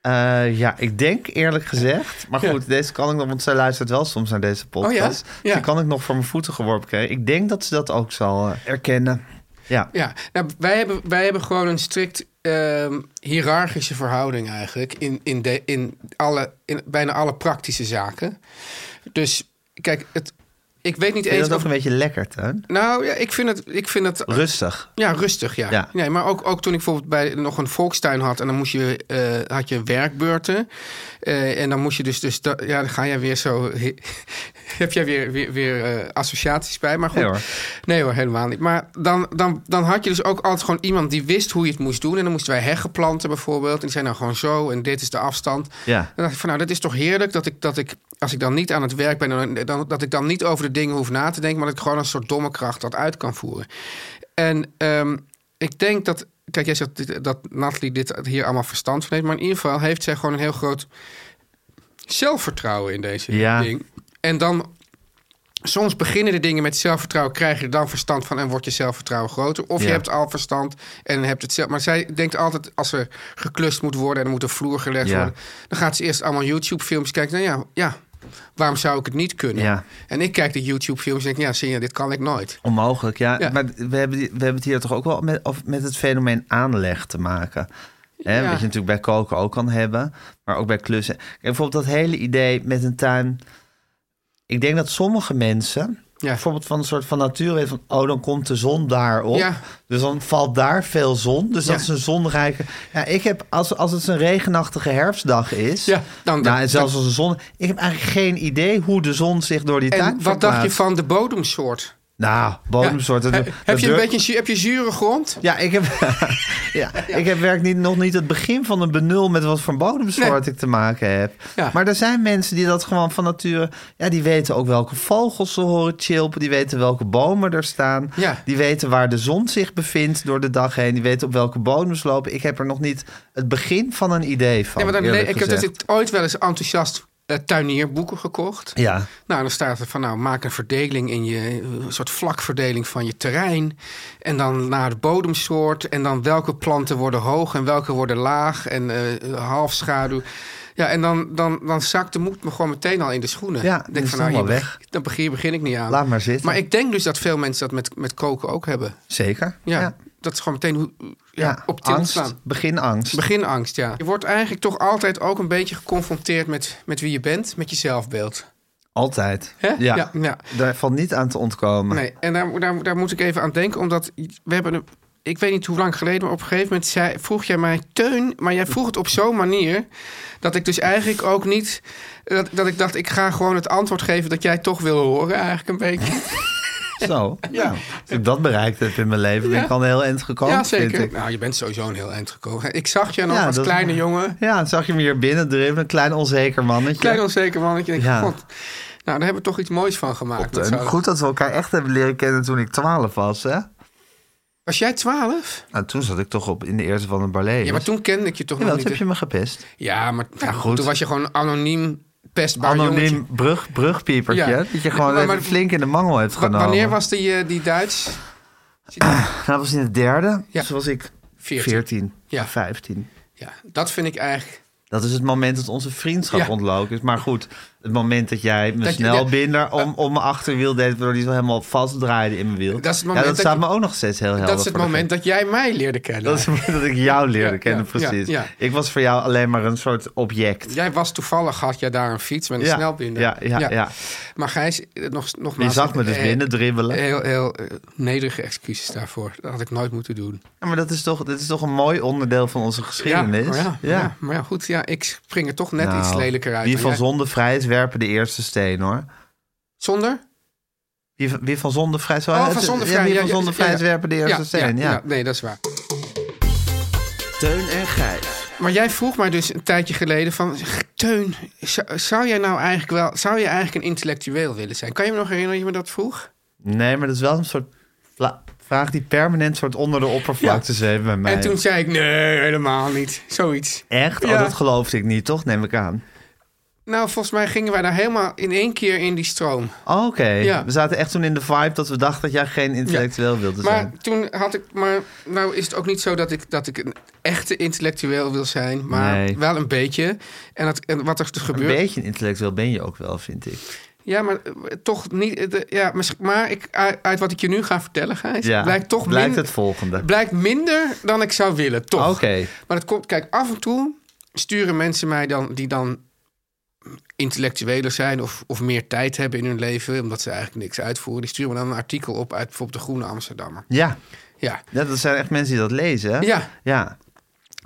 [SPEAKER 4] Eh, ja, ik denk eerlijk gezegd. Maar goed, deze kan ik nog, want zij luistert wel soms naar deze podcast.
[SPEAKER 5] Oh ja?
[SPEAKER 4] Dus
[SPEAKER 5] Ja.
[SPEAKER 4] Die kan ik nog voor mijn voeten geworpen krijgen. Ik denk dat ze dat ook zal eh, erkennen. Ja.
[SPEAKER 5] Ja, nou, wij, hebben, wij hebben gewoon een strikt ehm hiërarchische verhouding eigenlijk in, in, de, in, alle, in bijna alle praktische zaken. Dus kijk, het, ik weet niet
[SPEAKER 4] Vind je
[SPEAKER 5] eens
[SPEAKER 4] dat ook
[SPEAKER 5] of...
[SPEAKER 4] een beetje lekker, Teun?
[SPEAKER 5] Nou ja, ik vind het, ik vind het
[SPEAKER 4] Rustig.
[SPEAKER 5] ja, rustig, ja.
[SPEAKER 4] Ja.
[SPEAKER 5] Nee, maar ook, ook toen ik bijvoorbeeld bij, nog een volkstuin had... en dan moest je, eh, had je werkbeurten. Eh, en dan moest je dus... dus da- ja, dan ga jij weer zo... heb jij weer, weer, weer eh, associaties bij. Maar goed,
[SPEAKER 4] Nee hoor.
[SPEAKER 5] Nee hoor, helemaal niet. Maar dan, dan, dan had je dus ook altijd gewoon iemand die wist hoe je het moest doen. En dan moesten wij heggen planten bijvoorbeeld. En die zijn nou gewoon zo en dit is de afstand.
[SPEAKER 4] Ja.
[SPEAKER 5] Dan dacht ik van nou, dat is toch heerlijk dat ik, dat ik als ik dan niet aan het werk ben... Dan, dan- dat ik dan niet over de dingen hoef na te denken... maar dat ik gewoon als soort domme kracht dat uit kan voeren. En ehm, ik denk dat... Kijk, jij zegt dit- dat Nathalie dit hier allemaal verstand van heeft... maar in ieder geval heeft zij gewoon een heel groot zelfvertrouwen in deze
[SPEAKER 4] Ja.
[SPEAKER 5] ding. En dan... Soms beginnen de dingen met zelfvertrouwen, krijg je er dan verstand van en wordt je zelfvertrouwen groter. Of je
[SPEAKER 4] Ja.
[SPEAKER 5] hebt al verstand en hebt het zelf. Maar zij denkt altijd als er geklust moet worden en er moet een vloer gelegd
[SPEAKER 4] Ja.
[SPEAKER 5] worden, dan gaat ze eerst allemaal YouTube-films kijken. Nou ja, ja, waarom zou ik het niet kunnen?
[SPEAKER 4] Ja.
[SPEAKER 5] En ik kijk de YouTube-films en denk, ja, zie je, dit kan ik nooit.
[SPEAKER 4] Onmogelijk, ja.
[SPEAKER 5] Ja.
[SPEAKER 4] Maar we hebben, we hebben het hier toch ook wel met, of met het fenomeen aanleg te maken. Hè,
[SPEAKER 5] Ja.
[SPEAKER 4] Wat je natuurlijk bij koken ook kan hebben, maar ook bij klussen. Kijk, bijvoorbeeld dat hele idee met een tuin. Ik denk dat sommige mensen,
[SPEAKER 5] Ja.
[SPEAKER 4] bijvoorbeeld van een soort van natuur, weten van, oh, dan komt de zon daarop.
[SPEAKER 5] Ja.
[SPEAKER 4] Dus dan valt daar veel zon. Dus dat
[SPEAKER 5] Ja.
[SPEAKER 4] is een zonrijke. Ja, ik heb, als, als het een regenachtige herfstdag is,
[SPEAKER 5] Ja, dan-
[SPEAKER 4] nou, en
[SPEAKER 5] dan-
[SPEAKER 4] zelfs als een zon. Ik heb eigenlijk geen idee hoe de zon zich door die tuin
[SPEAKER 5] En wat dacht je
[SPEAKER 4] verplaatst.
[SPEAKER 5] van de bodemsoort?
[SPEAKER 4] Nou, bodemsoort. dat-
[SPEAKER 5] He-
[SPEAKER 4] dat
[SPEAKER 5] heb, je een
[SPEAKER 4] durf-
[SPEAKER 5] beetje, zu- heb je zure grond?
[SPEAKER 4] ja, ik heb, ja, Ik heb werk niet, nog niet het begin van een benul met wat voor bodemsoort ik te maken heb.
[SPEAKER 5] Ja.
[SPEAKER 4] Maar er zijn mensen die dat gewoon van nature. Ja, die weten ook welke vogels ze horen chilpen. Die weten welke bomen er staan.
[SPEAKER 5] Ja.
[SPEAKER 4] Die weten waar de zon zich bevindt door de dag heen. Die weten op welke bodems lopen. Ik heb er nog niet het begin van een idee van.
[SPEAKER 5] Nee, maar dan le-
[SPEAKER 4] eerlijk
[SPEAKER 5] ik heb dus
[SPEAKER 4] gezegd.
[SPEAKER 5] ik ooit wel eens enthousiast eh, tuinierboeken gekocht.
[SPEAKER 4] Ja,
[SPEAKER 5] Nou, dan staat er van, nou, maak een verdeling in je, eh, een soort vlakverdeling van je terrein. En dan naar de bodemsoort. En dan welke planten worden hoog en welke worden laag en eh half schaduw. Ja, en dan, dan, dan zakt de moed me gewoon meteen al in de schoenen.
[SPEAKER 4] Ja,
[SPEAKER 5] Ik
[SPEAKER 4] dat is
[SPEAKER 5] van,
[SPEAKER 4] dan
[SPEAKER 5] nou,
[SPEAKER 4] wel
[SPEAKER 5] hier
[SPEAKER 4] weg.
[SPEAKER 5] beg- Dan begin, begin ik niet aan.
[SPEAKER 4] Laat maar zitten.
[SPEAKER 5] Maar ik denk dus dat veel mensen dat met, met koken ook hebben.
[SPEAKER 4] zeker.
[SPEAKER 5] Ja, dat is gewoon meteen hoe, ja,
[SPEAKER 4] Ja,
[SPEAKER 5] op tilt
[SPEAKER 4] angst.
[SPEAKER 5] slaan.
[SPEAKER 4] Begin angst.
[SPEAKER 5] Beginangst, ja. Je wordt eigenlijk toch altijd ook een beetje geconfronteerd met, met wie je bent, met je zelfbeeld.
[SPEAKER 4] Altijd.
[SPEAKER 5] Hè?
[SPEAKER 4] Ja.
[SPEAKER 5] Ja, ja.
[SPEAKER 4] Daar valt niet aan te ontkomen.
[SPEAKER 5] Nee, en daar, daar, daar moet ik even aan denken, omdat we hebben een, ik weet niet hoe lang geleden, maar op een gegeven moment zei, vroeg jij mij teun, maar jij vroeg het op zo'n manier dat ik dus eigenlijk ook niet dat, dat ik dacht ik ga gewoon het antwoord geven dat jij toch wil horen eigenlijk een beetje.
[SPEAKER 4] Zo. Ja. Als ik dat bereikt heb in mijn leven, ben ik al een heel eind gekomen.
[SPEAKER 5] ja,
[SPEAKER 4] vind
[SPEAKER 5] zeker.
[SPEAKER 4] ik.
[SPEAKER 5] Nou, je bent sowieso een heel eind gekomen. Ik zag je nog
[SPEAKER 4] Ja,
[SPEAKER 5] als
[SPEAKER 4] dat-
[SPEAKER 5] kleine jongen,
[SPEAKER 4] Ja, dan zag je me hier binnen dribbelen. Een klein onzeker mannetje.
[SPEAKER 5] klein onzeker mannetje. En ik
[SPEAKER 4] Ja.
[SPEAKER 5] dacht, God, nou, daar hebben we toch iets moois van gemaakt.
[SPEAKER 4] En
[SPEAKER 5] Dat zou-
[SPEAKER 4] Goed dat we elkaar echt hebben leren kennen toen ik 12 was, hè?
[SPEAKER 5] Was jij twaalf?
[SPEAKER 4] Nou, toen zat ik toch op in de eerste van een ballet.
[SPEAKER 5] Ja, maar toen kende ik je toch
[SPEAKER 4] Jawel,
[SPEAKER 5] nog
[SPEAKER 4] toen
[SPEAKER 5] niet. dus-
[SPEAKER 4] heb je me gepest.
[SPEAKER 5] Ja, maar nou,
[SPEAKER 4] goed.
[SPEAKER 5] toen was je gewoon een anoniem pestbaar jongetje.
[SPEAKER 4] Anoniem brug, brugpiepertje.
[SPEAKER 5] Ja.
[SPEAKER 4] Dat je gewoon
[SPEAKER 5] Maar- maar-
[SPEAKER 4] even flink in de mangel hebt
[SPEAKER 5] Wa-
[SPEAKER 4] genomen.
[SPEAKER 5] Wanneer was die, eh, die Duits?
[SPEAKER 4] Nou, dat was in het derde.
[SPEAKER 5] Ja.
[SPEAKER 4] Dus was ik
[SPEAKER 5] 14.
[SPEAKER 4] 14,
[SPEAKER 5] Ja.
[SPEAKER 4] 15.
[SPEAKER 5] Ja, dat vind ik eigenlijk.
[SPEAKER 4] Dat is het moment dat onze vriendschap
[SPEAKER 5] Ja.
[SPEAKER 4] ontloken is. Maar goed, het moment dat jij me
[SPEAKER 5] Dat je-
[SPEAKER 4] snelbinder om, om mijn achterwiel deed... waardoor die zo helemaal vastdraaide in mijn wiel.
[SPEAKER 5] Dat is het
[SPEAKER 4] ja,
[SPEAKER 5] moment
[SPEAKER 4] dat,
[SPEAKER 5] dat
[SPEAKER 4] staat
[SPEAKER 5] je-
[SPEAKER 4] me ook nog steeds heel helder
[SPEAKER 5] dat is het
[SPEAKER 4] voor de
[SPEAKER 5] moment dat jij mij leerde kennen.
[SPEAKER 4] Dat is het moment dat ik jou leerde
[SPEAKER 5] Ja,
[SPEAKER 4] kennen,
[SPEAKER 5] ja, ja,
[SPEAKER 4] precies.
[SPEAKER 5] ja.
[SPEAKER 4] Ik was voor jou alleen maar een soort object.
[SPEAKER 5] Jij was toevallig, had jij daar een fiets met een
[SPEAKER 4] Ja,
[SPEAKER 5] snelbinder.
[SPEAKER 4] ja, ja, ja.
[SPEAKER 5] Maar Gijs, eh, nog,
[SPEAKER 4] Je
[SPEAKER 5] nogmaals...
[SPEAKER 4] zag me dus
[SPEAKER 5] eh,
[SPEAKER 4] binnen dribbelen.
[SPEAKER 5] Heel, heel eh, nederige excuses daarvoor. Dat had ik nooit moeten doen.
[SPEAKER 4] Ja, maar dat is, toch, dat is toch een mooi onderdeel van onze geschiedenis.
[SPEAKER 5] maar oh ja, ja, maar ja, goed, ja, ik spring er toch net
[SPEAKER 4] Nou,
[SPEAKER 5] iets lelijker uit.
[SPEAKER 4] Wie
[SPEAKER 5] dan
[SPEAKER 4] van
[SPEAKER 5] jij.
[SPEAKER 4] zonde vrij is, werpen de eerste steen, hoor.
[SPEAKER 5] Zonder?
[SPEAKER 4] Wie, van- wie van zonde vrij Eh, is,
[SPEAKER 5] Oh, van zonde vrij.
[SPEAKER 4] Ja, wie
[SPEAKER 5] ja,
[SPEAKER 4] van
[SPEAKER 5] ja,
[SPEAKER 4] zonde vrij
[SPEAKER 5] ja,
[SPEAKER 4] is,
[SPEAKER 5] ja.
[SPEAKER 4] werpen de eerste
[SPEAKER 5] Ja,
[SPEAKER 4] steen, ja.
[SPEAKER 5] Nee, dat is waar.
[SPEAKER 4] Teun en Gijs.
[SPEAKER 5] Maar jij vroeg mij dus een tijdje geleden van... Teun, zou, zou jij nou eigenlijk wel... Zou je eigenlijk een intellectueel willen zijn? Kan je me nog herinneren dat je me dat vroeg?
[SPEAKER 4] Nee, maar dat is wel een soort vla- vraag die permanent soort onder de oppervlakte zweeft bij mij.
[SPEAKER 5] En toen zei ik, nee, helemaal niet. Zoiets.
[SPEAKER 4] Echt?
[SPEAKER 5] Ja.
[SPEAKER 4] Oh, dat geloofde ik niet, toch? Neem ik aan.
[SPEAKER 5] Nou, volgens mij gingen wij daar helemaal in één keer in die stroom.
[SPEAKER 4] Oh, Oké.
[SPEAKER 5] Ja.
[SPEAKER 4] We zaten echt toen in de vibe dat we dachten dat jij geen intellectueel wilde
[SPEAKER 5] Maar
[SPEAKER 4] zijn.
[SPEAKER 5] toen had ik. Maar nou is het ook niet zo dat ik, dat ik een echte intellectueel wil zijn, maar
[SPEAKER 4] Nee.
[SPEAKER 5] wel een beetje. En, dat, en wat er dus
[SPEAKER 4] Een
[SPEAKER 5] gebeurt.
[SPEAKER 4] beetje een intellectueel ben je ook wel, vind ik.
[SPEAKER 5] Ja, maar eh, toch niet. eh, de- ja, misschien- maar ik, uit, uit wat ik je nu ga vertellen, Gijs,
[SPEAKER 4] Ja.
[SPEAKER 5] blijkt toch
[SPEAKER 4] Blijkt
[SPEAKER 5] min-
[SPEAKER 4] het volgende.
[SPEAKER 5] blijkt minder dan ik zou willen, toch?
[SPEAKER 4] Ah, Oké.
[SPEAKER 5] Maar dat komt, kijk, af en toe sturen mensen mij dan die dan intellectueler zijn of, of meer tijd hebben in hun leven, omdat ze eigenlijk niks uitvoeren. Die sturen me dan een artikel op uit bijvoorbeeld de Groene Amsterdammer.
[SPEAKER 4] Ja.
[SPEAKER 5] Ja.
[SPEAKER 4] ja, dat zijn echt mensen die dat lezen. hè?
[SPEAKER 5] Ja.
[SPEAKER 4] ja.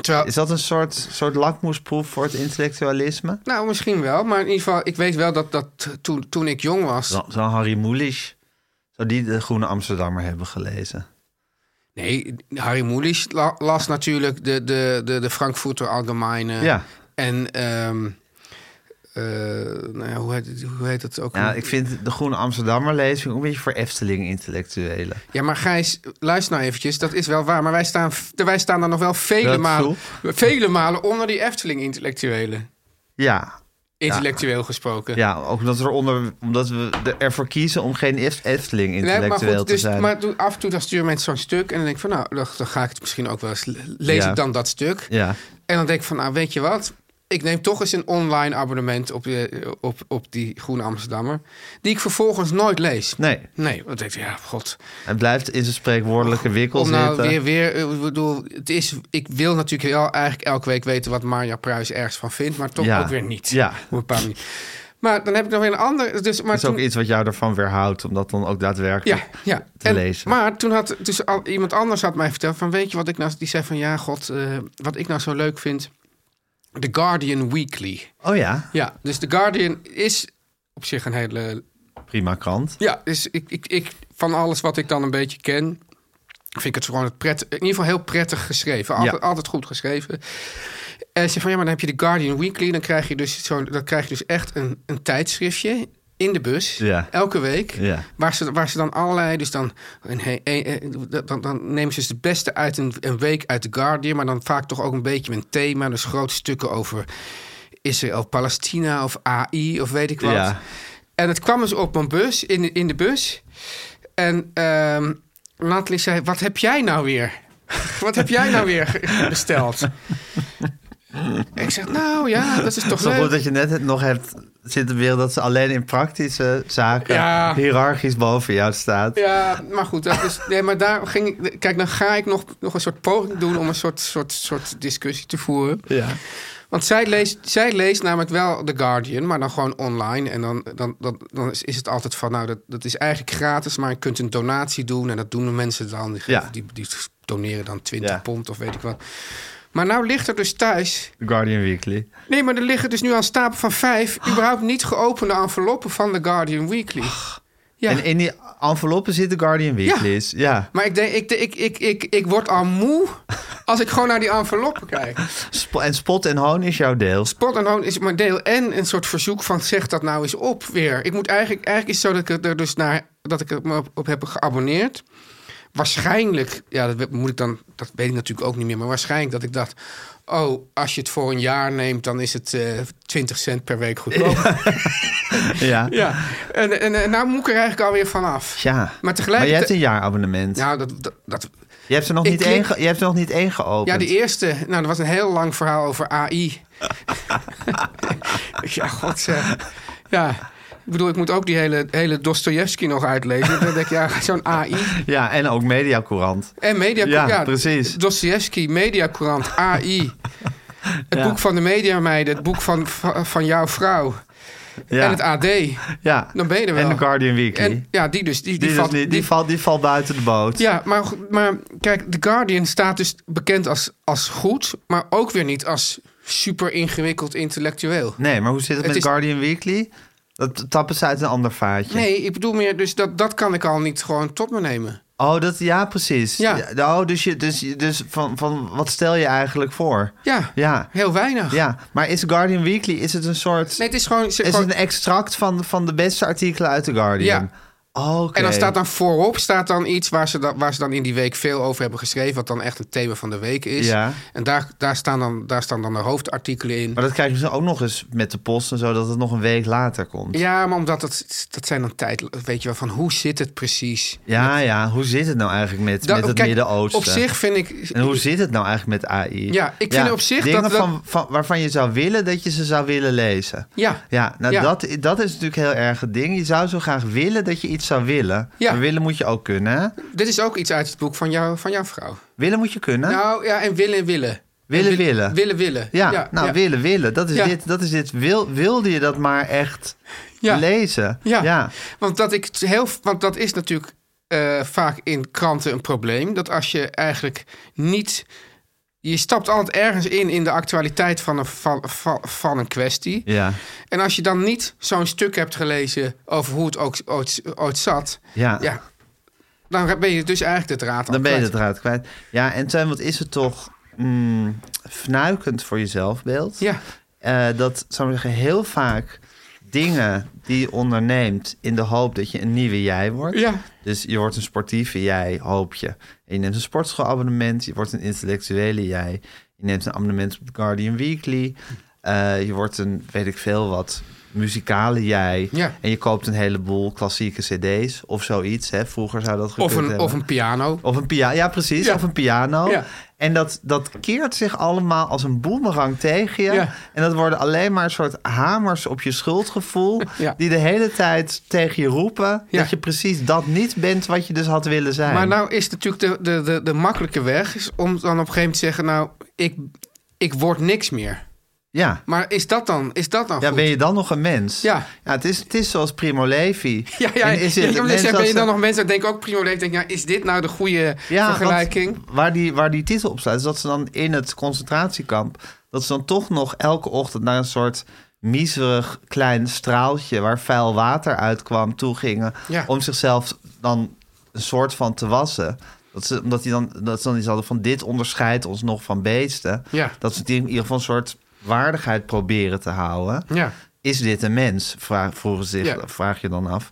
[SPEAKER 5] Terwijl,
[SPEAKER 4] Is dat een soort, soort lakmoesproef voor het intellectualisme?
[SPEAKER 5] nou, misschien wel, maar in ieder geval, ik weet wel dat, dat toen, toen ik jong was.
[SPEAKER 4] Zo- Zo'n Harry Mulisch. Zou die de Groene Amsterdammer hebben gelezen?
[SPEAKER 5] Nee, Harry Mulisch la- las natuurlijk de, de, de, de Frankfurter Allgemeine.
[SPEAKER 4] Ja.
[SPEAKER 5] En, ehm, eh, nou ja, hoe, heet, het- hoe heet dat ook?
[SPEAKER 4] Ja, ik vind de Groene Amsterdammer lezing ook een beetje voor Efteling-intellectuelen.
[SPEAKER 5] Ja, maar Gijs, luister nou eventjes. Dat is wel waar. Maar wij staan, wij staan dan nog wel vele
[SPEAKER 4] Dat
[SPEAKER 5] malen, vele malen onder die Efteling-intellectuelen.
[SPEAKER 4] Ja,
[SPEAKER 5] Intellectueel gesproken.
[SPEAKER 4] ja ook omdat, we onder, omdat we ervoor kiezen om geen Ef-
[SPEAKER 5] Nee,
[SPEAKER 4] Efteling-intellectueel
[SPEAKER 5] maar goed,
[SPEAKER 4] te
[SPEAKER 5] dus,
[SPEAKER 4] zijn.
[SPEAKER 5] maar doe- af en toe dan sturen mensen zo'n stuk. En dan denk ik van, nou, dan, dan ga ik het misschien ook wel eens... le- Lees
[SPEAKER 4] Ja.
[SPEAKER 5] ik dan dat stuk.
[SPEAKER 4] Ja,
[SPEAKER 5] En dan denk ik van, nou, weet je wat? Ik neem toch eens een online abonnement op, de, op, op die Groene Amsterdammer. Die ik vervolgens nooit lees.
[SPEAKER 4] nee.
[SPEAKER 5] Nee, want ik denk, ja, god.
[SPEAKER 4] Het blijft in zijn spreekwoordelijke wikkel
[SPEAKER 5] Om nou
[SPEAKER 4] zitten.
[SPEAKER 5] weer, weer, eh, ik bedoel, het is, ik wil natuurlijk wel eigenlijk elke week weten wat Marja Pruis ergens van vindt, maar toch
[SPEAKER 4] Ja.
[SPEAKER 5] ook weer niet.
[SPEAKER 4] Ja.
[SPEAKER 5] Op een bepaalde manier. Maar dan heb ik nog weer een ander. Dus, maar
[SPEAKER 4] Dat is ook
[SPEAKER 5] toen-
[SPEAKER 4] iets wat jou ervan weerhoudt, om dat dan ook daadwerkelijk...
[SPEAKER 5] ja, ja.
[SPEAKER 4] te lezen.
[SPEAKER 5] Maar toen had dus al, iemand anders had mij verteld van, weet je wat ik nou, die zei van, ja, god, eh, wat ik nou zo leuk vind, The Guardian Weekly.
[SPEAKER 4] Oh ja,
[SPEAKER 5] Ja, dus The Guardian is op zich een hele.
[SPEAKER 4] prima krant.
[SPEAKER 5] Ja, dus ik, ik, ik, van alles wat ik dan een beetje ken, vind ik het gewoon het pret, in ieder geval heel prettig geschreven. Altijd,
[SPEAKER 4] Ja.
[SPEAKER 5] altijd goed geschreven. En ze van ja, maar dan heb je The Guardian Weekly, dan krijg je dus, zo, dan krijg je dus echt een, een tijdschriftje. In de bus,
[SPEAKER 4] Ja.
[SPEAKER 5] elke week.
[SPEAKER 4] Ja.
[SPEAKER 5] Waar, ze, waar ze dan allerlei. Dus dan, een he- een- een- dan, dan nemen ze dus het beste uit een, een week uit The Guardian. Maar dan vaak toch ook een beetje met een thema. Dus grote stukken over Israël, Palestina of AI of weet ik wat.
[SPEAKER 4] Ja.
[SPEAKER 5] En het kwam dus op mijn bus, in, in de bus. En ehm Nathalie zei, wat heb jij nou weer? wat heb jij nou weer ge- besteld? ik zeg, nou ja, dat is toch
[SPEAKER 4] Het is wel
[SPEAKER 5] leuk.
[SPEAKER 4] goed dat je net het nog hebt zitten weer dat ze alleen in praktische zaken
[SPEAKER 5] Ja.
[SPEAKER 4] hiërarchisch boven jou staat.
[SPEAKER 5] Ja, maar goed. Dat is, nee, maar daar ging ik. Kijk, dan ga ik nog, nog een soort poging doen om een soort, soort, soort discussie te voeren.
[SPEAKER 4] Ja.
[SPEAKER 5] Want zij leest, zij leest namelijk wel The Guardian, maar dan gewoon online. En dan, dan, dan, dan is, is het altijd van, nou, dat, dat is eigenlijk gratis, maar je kunt een donatie doen. En dat doen de mensen dan. Die, geven-
[SPEAKER 4] Ja.
[SPEAKER 5] die, die doneren dan 20
[SPEAKER 4] Ja.
[SPEAKER 5] pond of weet ik wat. Maar nou ligt er dus thuis.
[SPEAKER 4] The Guardian Weekly.
[SPEAKER 5] Nee, maar er liggen dus nu aan stapel van vijf. überhaupt niet geopende enveloppen van The Guardian Weekly. Ja.
[SPEAKER 4] En in die enveloppen zit The Guardian Weeklies. Ja.
[SPEAKER 5] Maar ik denk, ik, ik, ik, ik, ik word al moe als ik gewoon naar die enveloppen kijk.
[SPEAKER 4] Sp- en Spot en Hoon is jouw deel.
[SPEAKER 5] Spot en hoon is mijn deel en een soort verzoek van zeg dat nou eens op weer. Ik moet eigenlijk, eigenlijk is het zo dat ik er dus naar, dat ik er me op, op heb geabonneerd. Waarschijnlijk, ja, dat moet ik dan, dat weet ik natuurlijk ook niet meer, maar waarschijnlijk dat ik dacht, oh, als je het voor een jaar neemt, dan is het eh 20 cent per week goedkoop.
[SPEAKER 4] Ja. ja.
[SPEAKER 5] Ja. En, en, en nou moet ik er eigenlijk alweer vanaf. Maar tegelijkertijd.
[SPEAKER 4] Maar je hebt een jaarabonnement.
[SPEAKER 5] Nou, dat, dat, dat,
[SPEAKER 4] je, hebt er nog
[SPEAKER 5] ik
[SPEAKER 4] niet
[SPEAKER 5] klik-
[SPEAKER 4] één ge- je hebt er nog niet één geopend.
[SPEAKER 5] Ja, die eerste. Nou, dat was een heel lang verhaal over AI. ja, god zeg. Ja, ik bedoel, ik moet ook die hele, hele Dostoevsky nog uitlezen. Dan denk ik, ja, zo'n AI.
[SPEAKER 4] Ja, en ook Mediacourant.
[SPEAKER 5] En
[SPEAKER 4] Ja,
[SPEAKER 5] Mediacourant.
[SPEAKER 4] precies.
[SPEAKER 5] Dostoevsky, Mediacourant, AI. Het
[SPEAKER 4] Ja.
[SPEAKER 5] boek van de mediameiden, het boek van, van, van jouw vrouw.
[SPEAKER 4] Ja.
[SPEAKER 5] En het AD.
[SPEAKER 4] ja.
[SPEAKER 5] Dan ben je er wel.
[SPEAKER 4] En The Guardian Weekly.
[SPEAKER 5] En, ja, die dus. Die, die,
[SPEAKER 4] die, dus
[SPEAKER 5] valt,
[SPEAKER 4] niet- die,
[SPEAKER 5] die-
[SPEAKER 4] valt, die valt buiten de boot.
[SPEAKER 5] Ja, maar, goed- maar kijk, The Guardian staat dus bekend als, als goed, maar ook weer niet als super ingewikkeld intellectueel.
[SPEAKER 4] Nee, maar hoe zit het,
[SPEAKER 5] Het
[SPEAKER 4] met
[SPEAKER 5] is-
[SPEAKER 4] Guardian Weekly? Dat tappen ze uit een ander vaatje.
[SPEAKER 5] Nee, ik bedoel meer, dus dat, dat kan ik al niet gewoon tot me nemen.
[SPEAKER 4] Oh, dat, ja, precies.
[SPEAKER 5] Ja.
[SPEAKER 4] oh, dus je, dus, je- dus van, van, wat stel je eigenlijk voor?
[SPEAKER 5] Ja,
[SPEAKER 4] Ja.
[SPEAKER 5] heel weinig.
[SPEAKER 4] Ja, maar is Guardian Weekly, is het een soort...
[SPEAKER 5] Nee, het is gewoon...
[SPEAKER 4] is
[SPEAKER 5] gewoon-
[SPEAKER 4] het een extract van, van de beste artikelen uit The Guardian?
[SPEAKER 5] Ja.
[SPEAKER 4] Oké.
[SPEAKER 5] En dan staat dan voorop staat dan iets waar ze, dan, waar ze dan in die week veel over hebben geschreven. Wat dan echt een thema van de week is.
[SPEAKER 4] Ja.
[SPEAKER 5] En daar, daar, staan dan, daar staan dan de hoofdartikelen in.
[SPEAKER 4] Maar dat krijgen ze ook nog eens met de post en zo, dat het nog een week later komt.
[SPEAKER 5] Ja, maar omdat dat, dat zijn dan tijd. Weet je wel, van hoe zit het precies?
[SPEAKER 4] Ja, ja. Hoe zit het nou eigenlijk met,
[SPEAKER 5] Dat-
[SPEAKER 4] met het
[SPEAKER 5] kijk,
[SPEAKER 4] Midden-Oosten?
[SPEAKER 5] Op zich vind ik.
[SPEAKER 4] En hoe zit het nou eigenlijk met AI?
[SPEAKER 5] Ja, ik vind op zich
[SPEAKER 4] dingen
[SPEAKER 5] dat- dat-
[SPEAKER 4] Van, van, waarvan je zou willen dat je ze zou willen lezen.
[SPEAKER 5] Ja.
[SPEAKER 4] Ja, nou
[SPEAKER 5] Ja.
[SPEAKER 4] Dat, dat is natuurlijk heel erg het ding. Je zou zo graag willen dat je iets zou willen.
[SPEAKER 5] Ja.
[SPEAKER 4] Maar willen moet je ook kunnen. hè?
[SPEAKER 5] Dit is ook iets uit het boek van, jou, van jouw vrouw.
[SPEAKER 4] Willen moet je kunnen.
[SPEAKER 5] Nou ja, en willen en willen.
[SPEAKER 4] Willen,
[SPEAKER 5] En wil-
[SPEAKER 4] willen.
[SPEAKER 5] Willen willen.
[SPEAKER 4] ja, nou willen, willen. Dat is
[SPEAKER 5] Ja.
[SPEAKER 4] dit. Dat is dit. Wil, wilde je dat maar echt
[SPEAKER 5] Ja.
[SPEAKER 4] lezen?
[SPEAKER 5] Ja.
[SPEAKER 4] ja.
[SPEAKER 5] Want dat, ik het heel, want dat is natuurlijk eh, vaak in kranten een probleem. Dat als je eigenlijk niet. Je stapt altijd ergens in in de actualiteit van een, van, van, van een kwestie.
[SPEAKER 4] Ja.
[SPEAKER 5] En als je dan niet zo'n stuk hebt gelezen over hoe het ook ooit, ooit zat.
[SPEAKER 4] Ja.
[SPEAKER 5] Ja, dan ben je dus eigenlijk de draad al
[SPEAKER 4] Dan ben je
[SPEAKER 5] kwijt.
[SPEAKER 4] het eruit kwijt. Ja, en Tuin, wat is het toch mm, fnuikend voor je zelfbeeld?
[SPEAKER 5] Ja.
[SPEAKER 4] Eh, dat, zou ik zeggen, heel vaak dingen die je onderneemt in de hoop dat je een nieuwe jij wordt.
[SPEAKER 5] Ja.
[SPEAKER 4] Dus je wordt een sportieve jij, hoop je. En je neemt een sportschoolabonnement, je wordt een intellectuele jij. Je neemt een abonnement op Guardian Weekly. Eh, je wordt een, weet ik veel wat, muzikale jij.
[SPEAKER 5] Ja.
[SPEAKER 4] En je koopt een heleboel klassieke cd's of zoiets. Hè. Vroeger zou dat
[SPEAKER 5] Of
[SPEAKER 4] gekund
[SPEAKER 5] een,
[SPEAKER 4] hebben.
[SPEAKER 5] of een piano.
[SPEAKER 4] Of een piano, ja precies,
[SPEAKER 5] Ja.
[SPEAKER 4] of een piano.
[SPEAKER 5] Ja.
[SPEAKER 4] En dat, dat keert zich allemaal als een boemerang tegen je.
[SPEAKER 5] Ja.
[SPEAKER 4] En dat worden alleen maar een soort hamers op je schuldgevoel...
[SPEAKER 5] Ja.
[SPEAKER 4] die de hele tijd tegen je roepen...
[SPEAKER 5] Ja.
[SPEAKER 4] dat je precies dat niet bent wat je dus had willen zijn.
[SPEAKER 5] Maar nou is natuurlijk de, de, de, de makkelijke weg is om dan op een gegeven moment te zeggen: Nou, ik, ik word niks meer.
[SPEAKER 4] ja.
[SPEAKER 5] Maar is dat dan, is dat dan
[SPEAKER 4] ja,
[SPEAKER 5] goed?
[SPEAKER 4] ben je dan nog een mens?
[SPEAKER 5] Ja.
[SPEAKER 4] het, is, het is zoals Primo Levi.
[SPEAKER 5] Ja, ja,
[SPEAKER 4] En is het
[SPEAKER 5] ja, ik
[SPEAKER 4] een
[SPEAKER 5] wil
[SPEAKER 4] mens
[SPEAKER 5] net
[SPEAKER 4] als
[SPEAKER 5] zeggen, ben je
[SPEAKER 4] de-
[SPEAKER 5] dan nog mensen die denken ook prima leeft, denken, ja, is dit nou de goede
[SPEAKER 4] want
[SPEAKER 5] vergelijking?
[SPEAKER 4] Waar die, waar die titel op staat, is dat ze dan in het concentratiekamp... dat ze dan toch nog elke ochtend naar een soort miserig klein straaltje... waar vuil water uitkwam, toe gingen...
[SPEAKER 5] Ja.
[SPEAKER 4] om zichzelf dan een soort van te wassen... Dat ze, omdat die dan, dat ze dan iets hadden van dit onderscheidt ons nog van beesten.
[SPEAKER 5] Ja.
[SPEAKER 4] Dat ze die in ieder geval een soort waardigheid proberen te houden.
[SPEAKER 5] Ja.
[SPEAKER 4] Is dit een mens? Vraag, vroegen ze zich,
[SPEAKER 5] Ja.
[SPEAKER 4] vraag je dan af.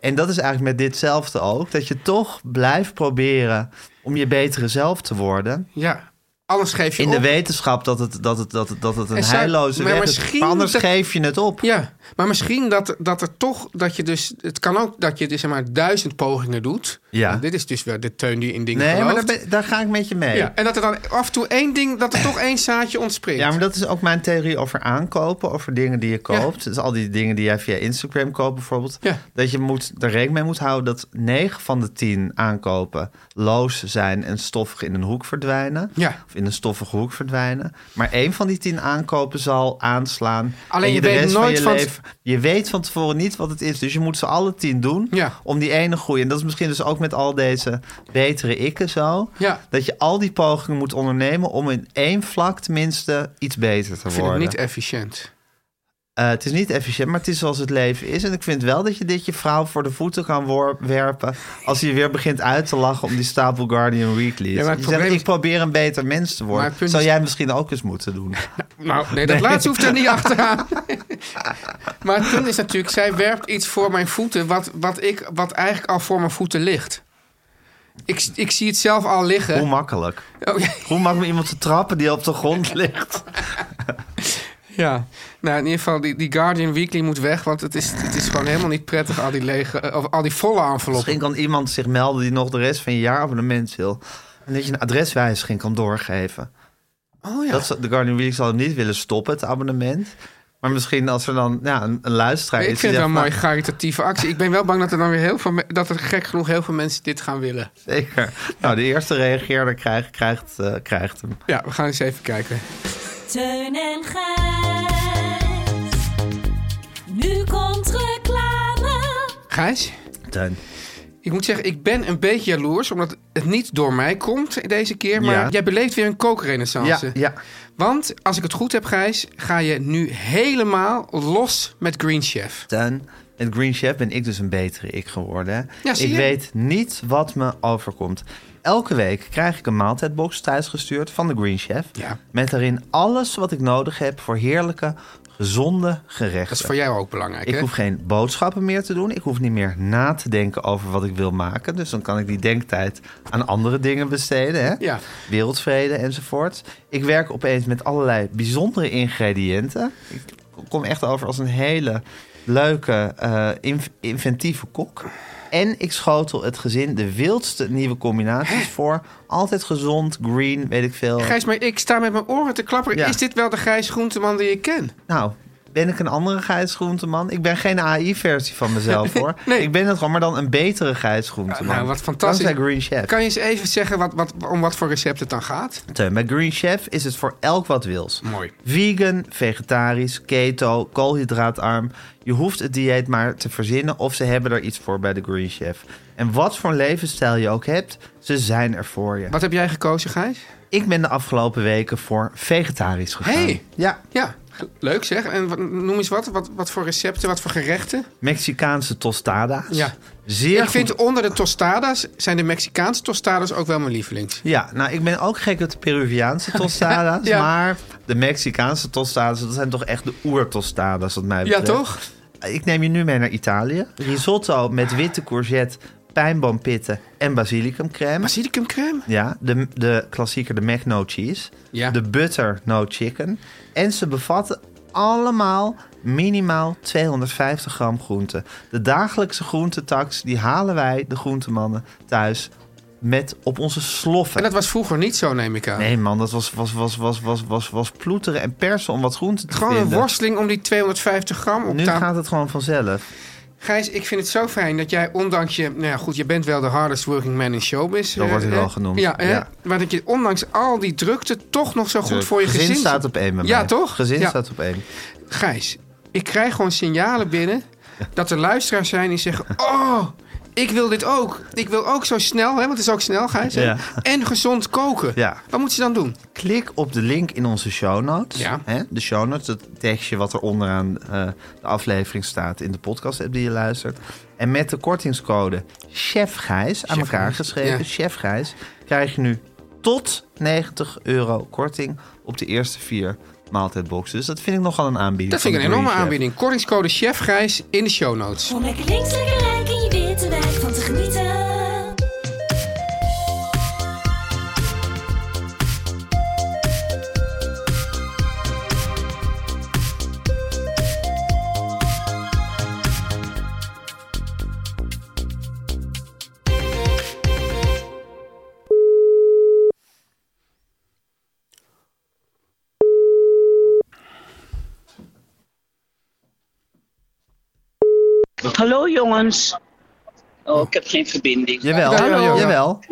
[SPEAKER 4] En dat is eigenlijk met ditzelfde ook. Dat je toch blijft proberen om je betere zelf te worden.
[SPEAKER 5] Ja, alles geef je
[SPEAKER 4] In
[SPEAKER 5] op.
[SPEAKER 4] de wetenschap dat het, dat het, dat het, dat het een
[SPEAKER 5] En zou-
[SPEAKER 4] heilloze
[SPEAKER 5] maar
[SPEAKER 4] weg is.
[SPEAKER 5] misschien
[SPEAKER 4] Maar anders
[SPEAKER 5] dat-
[SPEAKER 4] geef je het op.
[SPEAKER 5] Ja, maar misschien dat, dat er toch, dat je dus, het kan ook dat je dus zeg maar duizend pogingen doet.
[SPEAKER 4] Ja.
[SPEAKER 5] Nou, dit is dus weer de teun die in dingen
[SPEAKER 4] nee, maar daar,
[SPEAKER 5] gelooft.
[SPEAKER 4] ben- daar ga ik met je mee.
[SPEAKER 5] ja. En dat er dan af en toe één ding, dat er toch één zaadje ontspringt.
[SPEAKER 4] Ja, maar dat is ook mijn theorie over aankopen, over dingen die je koopt. Dus al die dingen die jij via Instagram koopt bijvoorbeeld.
[SPEAKER 5] Ja.
[SPEAKER 4] Dat je moet, er rekening mee moet houden dat 9 van de 10 aankopen loos zijn en stoffig in een hoek verdwijnen.
[SPEAKER 5] Ja.
[SPEAKER 4] Of in een stoffige hoek verdwijnen. Maar één van die 10 aankopen zal aanslaan.
[SPEAKER 5] Alleen
[SPEAKER 4] En
[SPEAKER 5] je
[SPEAKER 4] de
[SPEAKER 5] weet
[SPEAKER 4] rest van
[SPEAKER 5] nooit
[SPEAKER 4] je
[SPEAKER 5] van-
[SPEAKER 4] leven- Je weet van tevoren niet wat het is. Dus je moet ze alle 10 doen
[SPEAKER 5] Ja.
[SPEAKER 4] om die ene groei. En dat is misschien dus ook met al deze betere ikken zo.
[SPEAKER 5] Ja.
[SPEAKER 4] Dat je al die pogingen moet ondernemen om in één vlak tenminste iets beter te
[SPEAKER 5] ik vind
[SPEAKER 4] worden.
[SPEAKER 5] het niet e- efficiënt.
[SPEAKER 4] Eh, het is niet efficiënt, maar het is zoals het leven is. En ik vind wel dat je dit je vrouw voor de voeten kan wor- werpen... als hij weer begint uit te lachen om die stapel Guardian Weekly.
[SPEAKER 5] maar het probleem is-
[SPEAKER 4] ik probeer een beter mens te
[SPEAKER 5] Maar
[SPEAKER 4] worden.
[SPEAKER 5] het punt
[SPEAKER 4] Zou
[SPEAKER 5] is-
[SPEAKER 4] jij misschien ook eens moeten doen?
[SPEAKER 5] Nou, nee, dat laatste hoeft er niet achteraan. maar het punt is natuurlijk, zij werpt iets voor mijn voeten... wat, wat, ik, wat eigenlijk al voor mijn voeten ligt. Ik, ik zie het zelf al liggen.
[SPEAKER 4] Hoe makkelijk.
[SPEAKER 5] Oh, ja.
[SPEAKER 4] Hoe makkelijk iemand te trappen die op de grond ligt?
[SPEAKER 5] ja, nou in ieder geval, die, die Guardian Weekly moet weg... want het is, het is gewoon helemaal niet prettig, al die, lege, eh, of al die volle enveloppen.
[SPEAKER 4] Misschien kan iemand zich melden die nog de rest van je jaarabonnement wil. En dat je een adreswijziging kan doorgeven.
[SPEAKER 5] Oh ja,
[SPEAKER 4] Dat zou- de Guardian Weekly zal het niet willen stoppen, het abonnement. Maar misschien als er dan ja, een, een luisteraar
[SPEAKER 5] ik
[SPEAKER 4] is...
[SPEAKER 5] vind
[SPEAKER 4] die
[SPEAKER 5] het wel een
[SPEAKER 4] zegt,
[SPEAKER 5] mooie
[SPEAKER 4] nou,
[SPEAKER 5] caritatieve actie. Ik ben wel bang dat er dan weer heel veel... me- dat er gek genoeg heel veel mensen dit gaan willen.
[SPEAKER 4] Zeker. Nou, de eerste reageerder krijgt, krijgt, eh, krijgt hem.
[SPEAKER 5] Ja, we gaan eens even kijken.
[SPEAKER 7] Teun en Gijs. Nu komt reclame.
[SPEAKER 5] Gijs?
[SPEAKER 4] Teun.
[SPEAKER 5] Ik moet zeggen, ik ben een beetje jaloers, omdat het niet door mij komt deze keer. Maar
[SPEAKER 4] Ja.
[SPEAKER 5] jij beleeft weer een
[SPEAKER 4] Ja,
[SPEAKER 5] kookrenaissance.
[SPEAKER 4] ja.
[SPEAKER 5] Want als ik het goed heb, Gijs, ga je nu helemaal los met Green Chef.
[SPEAKER 4] Teun. Met Green Chef ben ik dus een betere ik geworden. hè.
[SPEAKER 5] Ja, zie
[SPEAKER 4] ik
[SPEAKER 5] je?
[SPEAKER 4] weet niet wat me overkomt. Elke week krijg ik een maaltijdbox thuisgestuurd van de Green Chef.
[SPEAKER 5] Ja.
[SPEAKER 4] Met daarin alles wat ik nodig heb voor heerlijke, gezonde gerechten.
[SPEAKER 5] Dat is voor jou ook belangrijk,
[SPEAKER 4] Ik
[SPEAKER 5] hè?
[SPEAKER 4] hoef geen boodschappen meer te doen. Ik hoef niet meer na te denken over wat ik wil maken. Dus dan kan ik die denktijd aan andere dingen besteden. Hè?
[SPEAKER 5] Ja.
[SPEAKER 4] Wereldvrede enzovoort. Ik werk opeens met allerlei bijzondere ingrediënten. Ik kom echt over als een hele leuke, eh, inv- inventieve kok. En ik schotel het gezin de wildste nieuwe combinaties voor. Altijd gezond, green, weet ik veel.
[SPEAKER 5] Gijs, maar ik sta met mijn oren te klapperen.
[SPEAKER 4] Ja.
[SPEAKER 5] Is dit wel de Gijs Groenteman die ik ken?
[SPEAKER 4] Nou, ben ik een andere Gijs Groenteman? Ik ben geen AI-versie van mezelf hoor.
[SPEAKER 5] Nee.
[SPEAKER 4] Ik ben het gewoon, maar dan een betere Gijs Groenteman.
[SPEAKER 5] Ja, nou, wat fantastisch.
[SPEAKER 4] Dankzij Green Chef.
[SPEAKER 5] Kan je eens even zeggen wat, wat, om wat voor recept het dan gaat?
[SPEAKER 4] Teun, Bij Green Chef is het voor elk wat wils.
[SPEAKER 5] Mooi.
[SPEAKER 4] Vegan, vegetarisch, keto, koolhydraatarm. Je hoeft het dieet maar te verzinnen of ze hebben er iets voor bij de Green Chef. En wat voor levensstijl je ook hebt, ze zijn er voor je.
[SPEAKER 5] Wat heb jij gekozen, Gijs?
[SPEAKER 4] Ik ben de afgelopen weken voor vegetarisch gegaan.
[SPEAKER 5] Hey.
[SPEAKER 4] Ja,
[SPEAKER 5] Ah. Ja, leuk zeg. En wat- noem eens wat, wat. Wat voor recepten, wat voor gerechten?
[SPEAKER 4] Mexicaanse tostada's.
[SPEAKER 5] Ja.
[SPEAKER 4] Zeer
[SPEAKER 5] ik vind
[SPEAKER 4] goed-
[SPEAKER 5] onder de tostada's zijn de Mexicaanse tostada's ook wel mijn lievelings.
[SPEAKER 4] Ja, nou, ik ben ook gek op de Peruviaanse tostada's.
[SPEAKER 5] Ja.
[SPEAKER 4] Maar de Mexicaanse tostada's, dat zijn toch echt de oertostada's, wat mij
[SPEAKER 5] Ja,
[SPEAKER 4] betreft.
[SPEAKER 5] toch?
[SPEAKER 4] Ik neem je nu mee naar Italië. Risotto met witte courgette, pijnboompitten en basilicumcrème.
[SPEAKER 5] Basilicumcrème?
[SPEAKER 4] Ja, de, de klassieker, de mac no cheese.
[SPEAKER 5] Ja.
[SPEAKER 4] De butter no chicken. En ze bevatten allemaal minimaal 250 gram groente. De dagelijkse groentetax, die halen wij, de groentemannen, thuis met op onze sloffen.
[SPEAKER 5] En dat was vroeger niet zo, neem ik aan.
[SPEAKER 4] Nee man, dat was, was, was, was, was, was, was ploeteren en persen om wat groente te
[SPEAKER 5] Gewoon een
[SPEAKER 4] vinden.
[SPEAKER 5] worsteling om die 250 gram op
[SPEAKER 4] Nu
[SPEAKER 5] tafel.
[SPEAKER 4] gaat het gewoon vanzelf.
[SPEAKER 5] Gijs, ik vind het zo fijn dat jij, ondanks je... Nou ja, goed, je bent wel de hardest working man in showbiz.
[SPEAKER 4] Zo
[SPEAKER 5] eh,
[SPEAKER 4] wordt hij
[SPEAKER 5] hè?
[SPEAKER 4] wel genoemd,
[SPEAKER 5] Ja, hè?
[SPEAKER 4] ja.
[SPEAKER 5] maar dat je ondanks al die drukte toch nog zo goed voor je gezin...
[SPEAKER 4] gezin staat op één bij
[SPEAKER 5] Ja,
[SPEAKER 4] mij.
[SPEAKER 5] toch?
[SPEAKER 4] Gezin
[SPEAKER 5] Ja.
[SPEAKER 4] staat op één.
[SPEAKER 5] Gijs, ik krijg gewoon signalen binnen dat er luisteraars zijn die zeggen... Oh, ik wil dit ook. Ik wil ook zo snel, hè, want het is ook snel, Gijs. hè?
[SPEAKER 4] Ja.
[SPEAKER 5] En gezond koken.
[SPEAKER 4] Ja.
[SPEAKER 5] Wat moet ze dan doen?
[SPEAKER 4] Klik op de link in onze show notes.
[SPEAKER 5] Ja.
[SPEAKER 4] Hè? De show notes, dat tekstje wat er onderaan eh, de aflevering staat in de podcast app die je luistert. En met de kortingscode Chef Gijs, aan
[SPEAKER 5] Chef
[SPEAKER 4] elkaar
[SPEAKER 5] Gijs,
[SPEAKER 4] geschreven,
[SPEAKER 5] ja.
[SPEAKER 4] Chef Gijs, krijg je nu tot 90 euro korting op de eerste vier maaltijdboxen. Dus dat vind ik nogal een aanbieding.
[SPEAKER 5] Dat
[SPEAKER 4] van
[SPEAKER 5] vind ik
[SPEAKER 4] de
[SPEAKER 5] een enorme
[SPEAKER 4] Green Chef.
[SPEAKER 5] aanbieding. Kortingscode Chef Gijs in de show notes.
[SPEAKER 7] Om lekker links, lekker rijk in je witte wijk van te genieten.
[SPEAKER 8] Hallo jongens. Oh, ik heb geen verbinding.
[SPEAKER 4] Jawel,
[SPEAKER 5] Ja, ja, ja.
[SPEAKER 4] jawel.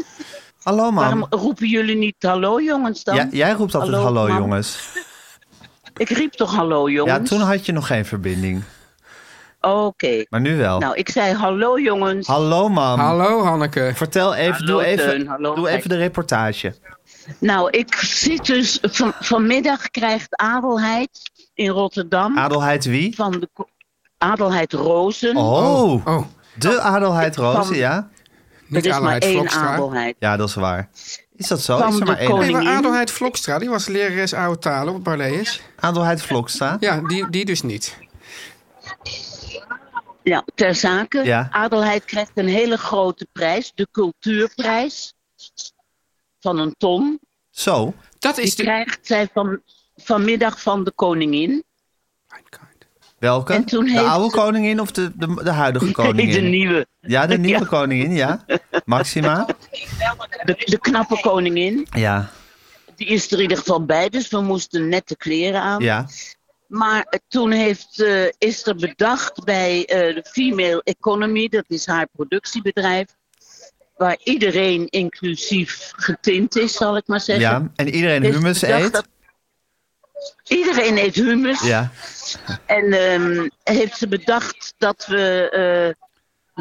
[SPEAKER 4] Hallo mam.
[SPEAKER 8] Waarom roepen jullie niet hallo jongens dan?
[SPEAKER 4] Ja, jij roept altijd
[SPEAKER 8] Hallo,
[SPEAKER 4] hallo,
[SPEAKER 8] mam.
[SPEAKER 4] jongens.
[SPEAKER 8] Ik riep toch hallo jongens? Oh,
[SPEAKER 4] Ja, toen had je nog geen verbinding.
[SPEAKER 8] Oké.
[SPEAKER 4] Maar nu wel.
[SPEAKER 8] Nou, ik zei hallo jongens.
[SPEAKER 4] Hallo mam.
[SPEAKER 5] Hallo Hanneke.
[SPEAKER 4] Vertel even,
[SPEAKER 8] Hallo,
[SPEAKER 4] doe, even,
[SPEAKER 8] Teun. Hallo,
[SPEAKER 4] doe
[SPEAKER 8] Gijs.
[SPEAKER 4] even de reportage.
[SPEAKER 8] Nou, ik zit dus... Van, vanmiddag krijgt Adelheid in Rotterdam...
[SPEAKER 4] Adelheid wie?
[SPEAKER 8] van de ko- Adelheid Rozen.
[SPEAKER 4] Oh,
[SPEAKER 5] Oh,
[SPEAKER 4] de Adelheid Rozen,
[SPEAKER 8] Van-
[SPEAKER 4] ja?
[SPEAKER 8] er
[SPEAKER 5] niet
[SPEAKER 8] is maar
[SPEAKER 5] Adelheid
[SPEAKER 8] één
[SPEAKER 5] Vlokstra.
[SPEAKER 8] Adelheid.
[SPEAKER 4] Ja, dat is waar. Is dat zo?
[SPEAKER 8] Van
[SPEAKER 4] Is er
[SPEAKER 8] de
[SPEAKER 4] maar één?
[SPEAKER 8] koning.
[SPEAKER 5] Nee, maar
[SPEAKER 8] Koningin.
[SPEAKER 5] Adelheid Vlokstra, die was lerares oude talen op Barlees.
[SPEAKER 4] Adelheid Vlokstra?
[SPEAKER 5] Ja, die, die dus niet.
[SPEAKER 8] Ja, ter zake.
[SPEAKER 4] Ja.
[SPEAKER 8] Adelheid krijgt een hele grote prijs. De cultuurprijs. Van een ton.
[SPEAKER 4] Zo,
[SPEAKER 5] Dat is
[SPEAKER 8] Die
[SPEAKER 5] de...
[SPEAKER 8] krijgt zij van, vanmiddag van de koningin.
[SPEAKER 4] welke?
[SPEAKER 8] En toen
[SPEAKER 4] De
[SPEAKER 8] heeft
[SPEAKER 4] oude
[SPEAKER 8] ze-
[SPEAKER 4] koningin of de, de, de huidige
[SPEAKER 8] Nee, de
[SPEAKER 4] koningin?
[SPEAKER 8] nieuwe.
[SPEAKER 4] Ja, de nieuwe
[SPEAKER 8] Ja.
[SPEAKER 4] koningin, ja. Maxima?
[SPEAKER 8] De, de knappe koningin.
[SPEAKER 4] Ja,
[SPEAKER 8] Die is er in ieder geval bij, dus we moesten nette kleren aan.
[SPEAKER 4] ja.
[SPEAKER 8] Maar eh, toen heeft, eh, is er bedacht bij eh, de Female Economy, dat is haar productiebedrijf, waar iedereen inclusief getint is, zal ik maar zeggen.
[SPEAKER 4] ja. En iedereen
[SPEAKER 8] Dus
[SPEAKER 4] hummus
[SPEAKER 8] bedacht
[SPEAKER 4] eet?
[SPEAKER 8] dat- Iedereen eet hummus.
[SPEAKER 4] Ja.
[SPEAKER 8] En ehm, heeft ze bedacht dat we eh,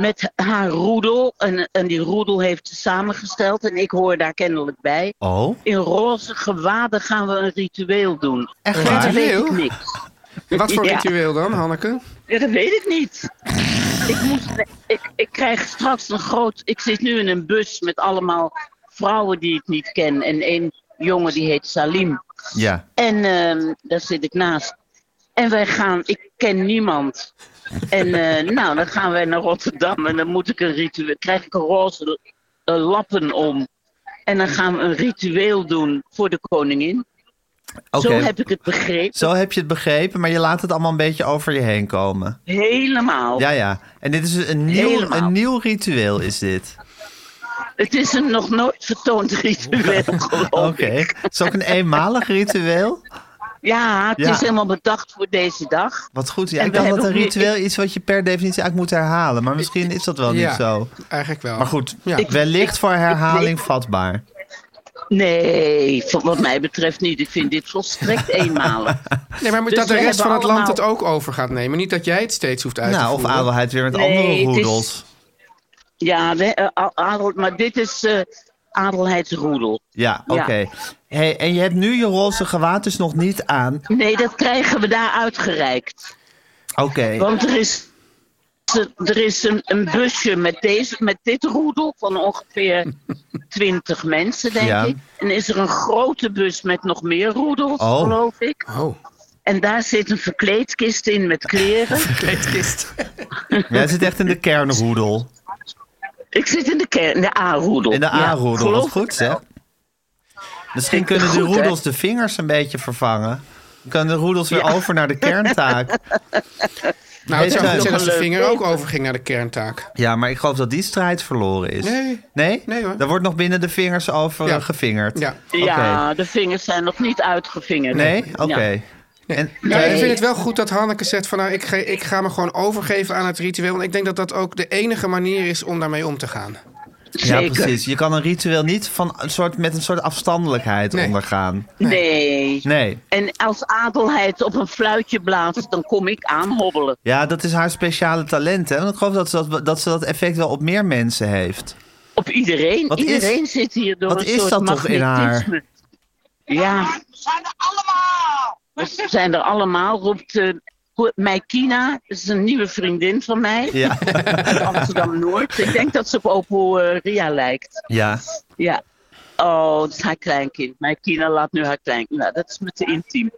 [SPEAKER 8] met haar roedel, en, en die roedel heeft ze samengesteld, en ik hoor daar kennelijk bij.
[SPEAKER 4] Oh,
[SPEAKER 8] In roze gewaden gaan we een ritueel doen.
[SPEAKER 4] echt
[SPEAKER 8] Dat
[SPEAKER 4] waar?
[SPEAKER 8] weet
[SPEAKER 5] Ritueel?
[SPEAKER 8] ik niks.
[SPEAKER 5] Wat voor
[SPEAKER 8] Ja.
[SPEAKER 5] ritueel dan, Hanneke?
[SPEAKER 8] Ja, dat weet ik niet. ik, moest, ik, ik krijg straks een groot. Ik zit nu in een bus met allemaal vrouwen die ik niet ken. En één jongen die heet Salim.
[SPEAKER 4] Ja.
[SPEAKER 8] En ehm, daar zit ik naast. En wij gaan, ik ken niemand. En eh, nou, dan gaan wij naar Rotterdam en dan moet ik een ritueel, krijg ik een roze eh, lappen om. En dan gaan we een ritueel doen voor de koningin.
[SPEAKER 4] Oké.
[SPEAKER 8] Zo heb ik het begrepen.
[SPEAKER 4] Zo heb je het begrepen, maar je laat het allemaal een beetje over je heen komen.
[SPEAKER 8] Helemaal.
[SPEAKER 4] Ja, ja. En dit is een nieuw,
[SPEAKER 8] Oh. Helemaal.
[SPEAKER 4] een nieuw ritueel, is dit.
[SPEAKER 8] Het is een nog nooit vertoond ritueel, geloof
[SPEAKER 4] Oké.
[SPEAKER 8] ik.
[SPEAKER 4] Het is ook een eenmalig ritueel.
[SPEAKER 8] Ja, het
[SPEAKER 4] Ja.
[SPEAKER 8] is helemaal bedacht voor deze dag.
[SPEAKER 4] Wat goed. Ja,
[SPEAKER 8] En
[SPEAKER 4] ik
[SPEAKER 8] we
[SPEAKER 4] kan dat
[SPEAKER 8] hebben
[SPEAKER 4] een
[SPEAKER 8] ook weer-
[SPEAKER 4] ritueel iets wat je per definitie eigenlijk moet herhalen. Maar misschien is dat wel
[SPEAKER 5] Ja.
[SPEAKER 4] niet zo.
[SPEAKER 5] Eigenlijk wel.
[SPEAKER 4] Maar goed,
[SPEAKER 5] Ja.
[SPEAKER 8] Ik-
[SPEAKER 4] wellicht voor herhaling vatbaar.
[SPEAKER 8] Nee, van wat mij betreft niet. Ik vind dit volstrekt eenmalig.
[SPEAKER 5] Nee, maar
[SPEAKER 8] Dus
[SPEAKER 5] dat de
[SPEAKER 8] we
[SPEAKER 5] rest van
[SPEAKER 8] hebben
[SPEAKER 5] het land het
[SPEAKER 8] allemaal-
[SPEAKER 5] ook over gaat nemen. Niet dat jij het steeds hoeft uit te
[SPEAKER 4] Nou, of
[SPEAKER 5] voeren.
[SPEAKER 4] adelheid weer met
[SPEAKER 8] Nee,
[SPEAKER 4] andere
[SPEAKER 8] het is-
[SPEAKER 4] roedels.
[SPEAKER 8] Ja, de, eh, a- adel, maar dit is eh adelheidsroedel.
[SPEAKER 4] Ja, oké.
[SPEAKER 8] Ja.
[SPEAKER 4] Hey, en je hebt nu je roze gewaad dus nog niet aan.
[SPEAKER 8] Nee, dat krijgen we daar uitgereikt.
[SPEAKER 4] Oké.
[SPEAKER 8] Want er is, er is een, een busje met, deze, met dit roedel van ongeveer 20 mensen, denk
[SPEAKER 4] Ja.
[SPEAKER 8] ik. En is er een grote bus met nog meer roedels,
[SPEAKER 4] Oh.
[SPEAKER 8] geloof ik.
[SPEAKER 5] Oh,
[SPEAKER 8] En daar zit een verkleedkist in met kleren.
[SPEAKER 5] kleedkist.
[SPEAKER 4] Jij zit echt in de kernroedel.
[SPEAKER 8] Ik zit in de, ker- in de A-roedel.
[SPEAKER 4] In de
[SPEAKER 8] Ja,
[SPEAKER 4] A-roedel.
[SPEAKER 8] geloof
[SPEAKER 4] Wat goed,
[SPEAKER 8] ik
[SPEAKER 4] zeg.
[SPEAKER 8] wel.
[SPEAKER 4] Misschien
[SPEAKER 8] Vind ik
[SPEAKER 4] kunnen de
[SPEAKER 8] goed, hè?
[SPEAKER 4] roedels de vingers een beetje vervangen. Dan kunnen de roedels weer over naar de kerntaak.
[SPEAKER 5] Nou, het zou
[SPEAKER 4] Heeft,
[SPEAKER 5] goed
[SPEAKER 4] eh,
[SPEAKER 5] zijn als de
[SPEAKER 8] leuk.
[SPEAKER 5] vinger ook overging naar de kerntaak.
[SPEAKER 4] Ja, maar ik geloof dat die strijd verloren is.
[SPEAKER 5] Nee.
[SPEAKER 4] Nee?
[SPEAKER 5] Nee, hoor.
[SPEAKER 4] Daar wordt nog binnen de vingers over
[SPEAKER 5] Ja.
[SPEAKER 4] eh, gevingerd.
[SPEAKER 5] Ja.
[SPEAKER 8] Ja, de vingers zijn nog niet uitgevingerd.
[SPEAKER 4] Nee? Oké.
[SPEAKER 8] Ja.
[SPEAKER 4] En-
[SPEAKER 5] Ja, Nou, ik vind het wel goed dat Hanneke zegt van nou, ik ga, ik ga me gewoon overgeven aan het ritueel. Want ik denk dat dat ook de enige manier is om daarmee om te gaan.
[SPEAKER 4] Ja,
[SPEAKER 8] Zeker.
[SPEAKER 4] precies. Je kan een ritueel niet van een soort, met een soort afstandelijkheid
[SPEAKER 5] Nee.
[SPEAKER 4] ondergaan.
[SPEAKER 8] Nee.
[SPEAKER 4] Nee.
[SPEAKER 8] En als adelheid op een fluitje blaast, dan kom ik aanhobbelen.
[SPEAKER 4] Ja, dat is haar speciale talent. Hè? Want ik geloof dat ze dat, dat ze dat effect wel op meer mensen heeft.
[SPEAKER 8] Op iedereen.
[SPEAKER 4] Wat is-
[SPEAKER 8] iedereen zit hier door
[SPEAKER 4] wat
[SPEAKER 8] een
[SPEAKER 4] is
[SPEAKER 8] soort
[SPEAKER 4] dat toch in
[SPEAKER 8] magnetisme. Ja. We zijn er allemaal. We zijn er allemaal, roept eh, ho- Meikina. Dat is een nieuwe vriendin van mij.
[SPEAKER 4] Ja.
[SPEAKER 8] uit Amsterdam-Noord. Ik denk dat ze op Opel eh, Ria lijkt.
[SPEAKER 4] ja.
[SPEAKER 8] Ja. Oh, dat is haar kleinkind. Mijn Kina laat nu haar kleinkind. Nou, dat is me te intiem.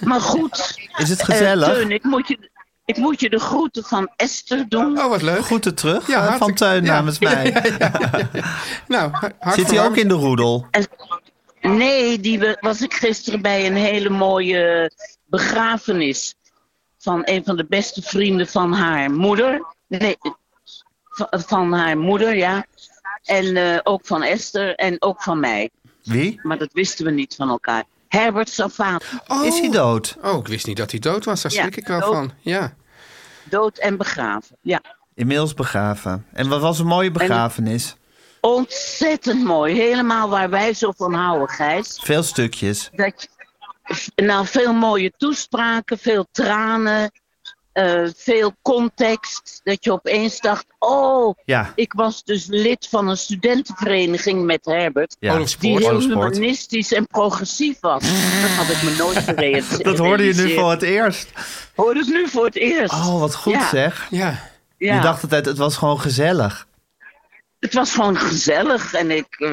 [SPEAKER 8] maar goed.
[SPEAKER 4] Is het
[SPEAKER 8] eh,
[SPEAKER 4] gezellig?
[SPEAKER 8] Teun, ik moet, je, ik moet je de groeten van Esther doen.
[SPEAKER 5] Oh, wat leuk.
[SPEAKER 4] Groeten terug
[SPEAKER 5] Ja,
[SPEAKER 4] eh, van
[SPEAKER 5] hartstikke-
[SPEAKER 4] Teun
[SPEAKER 5] ja.
[SPEAKER 4] namens mij.
[SPEAKER 5] Nou, ha- hart
[SPEAKER 4] Zit hij ook in de roedel?
[SPEAKER 8] En- nee, die we- was ik gisteren bij een hele mooie begrafenis. Van een van de beste vrienden van haar moeder. Nee, van, van haar moeder, ja. En eh, ook van Esther en ook van mij.
[SPEAKER 4] Wie?
[SPEAKER 8] Maar dat wisten we niet van elkaar. Herbert Savaat.
[SPEAKER 5] Oh.
[SPEAKER 4] Is hij dood?
[SPEAKER 5] Oh, ik wist niet dat hij dood was. Daar
[SPEAKER 8] Ja,
[SPEAKER 5] schrik ik wel
[SPEAKER 8] dood.
[SPEAKER 5] van. Ja.
[SPEAKER 8] Dood en begraven. Ja,
[SPEAKER 4] Inmiddels begraven. En wat was een mooie begrafenis.
[SPEAKER 8] ontzettend mooi. Helemaal waar wij zo van houden, Gijs.
[SPEAKER 4] Veel stukjes.
[SPEAKER 8] Dat je, nou, veel mooie toespraken, veel tranen, eh, veel context. Dat je opeens dacht, oh,
[SPEAKER 4] Ja.
[SPEAKER 8] ik was dus lid van een studentenvereniging met Herbert.
[SPEAKER 4] Ja.
[SPEAKER 8] Die
[SPEAKER 5] Oorlogssport.
[SPEAKER 8] heel
[SPEAKER 4] Oorlogssport.
[SPEAKER 8] humanistisch en progressief was. Dat had ik me nooit gerealiseerd.
[SPEAKER 4] Dat hoorde je nu voor het eerst.
[SPEAKER 8] Hoorde ik nu voor het eerst.
[SPEAKER 4] Oh, wat goed
[SPEAKER 8] Ja,
[SPEAKER 4] zeg.
[SPEAKER 5] Ja.
[SPEAKER 8] Ja.
[SPEAKER 4] Je dacht altijd, het was gewoon gezellig.
[SPEAKER 8] Het was gewoon gezellig en ik eh,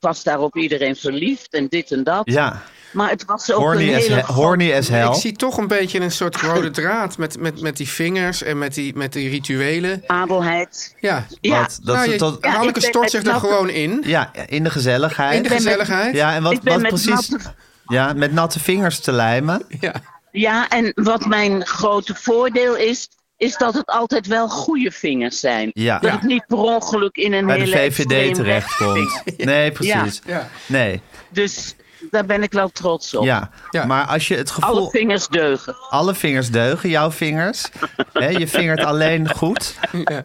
[SPEAKER 8] was daar op iedereen verliefd en dit en dat.
[SPEAKER 4] Ja.
[SPEAKER 8] Maar het was ook een
[SPEAKER 4] Horny as,
[SPEAKER 8] hele...
[SPEAKER 4] he- horny as
[SPEAKER 5] Ik
[SPEAKER 4] hell.
[SPEAKER 5] zie toch een beetje een soort rode draad met, met, met die vingers en met die, met die rituelen.
[SPEAKER 8] Adelheid.
[SPEAKER 5] Ja.
[SPEAKER 8] Ja,
[SPEAKER 4] Wat? Dat
[SPEAKER 5] Nou,
[SPEAKER 4] ze
[SPEAKER 5] je-
[SPEAKER 4] tot-
[SPEAKER 8] Ja,
[SPEAKER 5] Hanneke
[SPEAKER 8] ik ben
[SPEAKER 5] stort
[SPEAKER 8] met
[SPEAKER 5] zich er
[SPEAKER 8] natte-
[SPEAKER 5] gewoon in.
[SPEAKER 4] Ja, in de gezelligheid.
[SPEAKER 5] In de gezelligheid.
[SPEAKER 4] Ja, en wat,
[SPEAKER 8] ik ben
[SPEAKER 4] wat
[SPEAKER 8] met
[SPEAKER 4] precies?
[SPEAKER 8] natte-
[SPEAKER 4] Ja, met natte vingers te lijmen.
[SPEAKER 5] Ja.
[SPEAKER 8] ja, en wat mijn grote voordeel is, is dat het altijd wel goede vingers zijn.
[SPEAKER 4] Ja.
[SPEAKER 8] Dat
[SPEAKER 4] Ja.
[SPEAKER 8] ik niet per ongeluk in een
[SPEAKER 4] Bij de
[SPEAKER 8] hele
[SPEAKER 4] VVD
[SPEAKER 8] extreem
[SPEAKER 4] terechtkomt. Nee, precies.
[SPEAKER 5] Ja.
[SPEAKER 4] Nee,
[SPEAKER 8] Dus daar ben ik wel trots op.
[SPEAKER 4] ja.
[SPEAKER 5] Ja.
[SPEAKER 4] Maar als je het
[SPEAKER 8] Alle
[SPEAKER 4] gevoel...
[SPEAKER 8] vingers deugen.
[SPEAKER 4] Alle vingers deugen, jouw vingers. Hè, je vingert alleen goed.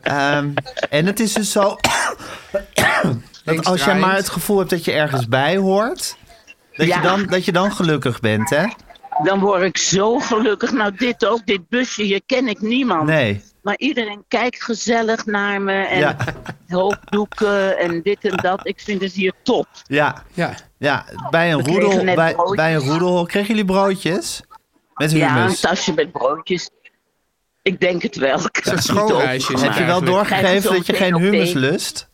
[SPEAKER 4] Ehm, en het is dus zo, dat als jij
[SPEAKER 5] Linksdraaiend.
[SPEAKER 4] maar het gevoel hebt dat je ergens bij hoort... Dat,
[SPEAKER 8] Ja.
[SPEAKER 4] je, dan, dat je dan gelukkig bent, hè?
[SPEAKER 8] Dan word ik zo gelukkig. Nou, dit ook, dit busje, hier ken ik niemand.
[SPEAKER 4] Nee.
[SPEAKER 8] Maar iedereen kijkt gezellig naar me en
[SPEAKER 4] Ja.
[SPEAKER 8] hoofddoeken en dit en dat. Ik vind het hier top.
[SPEAKER 4] Ja,
[SPEAKER 5] Ja.
[SPEAKER 4] ja. Bij, een
[SPEAKER 8] We kregen
[SPEAKER 4] roedel,
[SPEAKER 8] net
[SPEAKER 4] bij,
[SPEAKER 8] broodjes.
[SPEAKER 4] bij een roedel... Kregen jullie broodjes? Met
[SPEAKER 8] Ja, een
[SPEAKER 4] hummus.
[SPEAKER 8] tasje met broodjes. Ik denk het wel. Ik heb het niet
[SPEAKER 5] schoolreisjes.
[SPEAKER 8] opgemaakt.
[SPEAKER 4] Heb je wel
[SPEAKER 5] Eigenlijk.
[SPEAKER 8] Krijg je
[SPEAKER 4] doorgegeven
[SPEAKER 8] zo
[SPEAKER 4] dat je
[SPEAKER 8] meteen
[SPEAKER 4] geen
[SPEAKER 8] op
[SPEAKER 4] hummus
[SPEAKER 8] thee?
[SPEAKER 4] lust?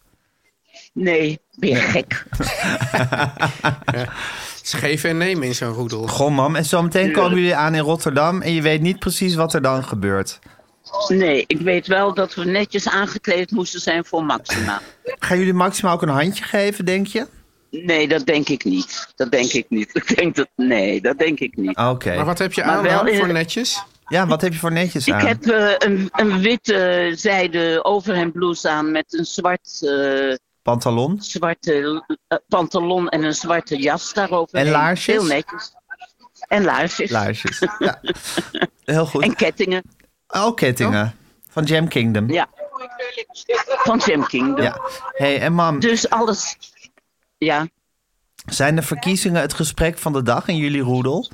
[SPEAKER 8] Nee, ben je gek.
[SPEAKER 5] is geven en nemen in zo'n roedel.
[SPEAKER 4] Goh, mam. En zometeen komen jullie aan in Rotterdam en je weet niet precies wat er dan gebeurt.
[SPEAKER 8] Nee, ik weet wel dat we netjes aangekleed moesten zijn voor Maxima.
[SPEAKER 4] Gaan jullie Maxima ook een handje geven, denk je?
[SPEAKER 8] Nee, dat denk ik niet. Dat denk ik niet. Ik denk dat, nee, dat denk ik niet.
[SPEAKER 4] Oké.
[SPEAKER 5] Maar wat heb je
[SPEAKER 8] Maar
[SPEAKER 5] aan
[SPEAKER 8] wel
[SPEAKER 5] dan
[SPEAKER 8] in-
[SPEAKER 5] voor netjes?
[SPEAKER 4] Ja, wat heb je voor netjes aan?
[SPEAKER 8] Ik heb eh, een, een witte zijde overhemdblouse aan met een zwart, eh,
[SPEAKER 4] Pantalon?
[SPEAKER 8] zwarte eh, pantalon en een zwarte jas daarover.
[SPEAKER 4] En laarsjes?
[SPEAKER 8] Heel netjes. En laarsjes.
[SPEAKER 4] Laarsjes. Ja. Heel goed.
[SPEAKER 8] En kettingen.
[SPEAKER 4] Oh, kettingen. Van Jam Kingdom.
[SPEAKER 8] Ja. Van Jam Kingdom.
[SPEAKER 4] Ja. hey, en mam,
[SPEAKER 8] Dus alles. Ja.
[SPEAKER 4] zijn de verkiezingen het gesprek van de dag in jullie roedel?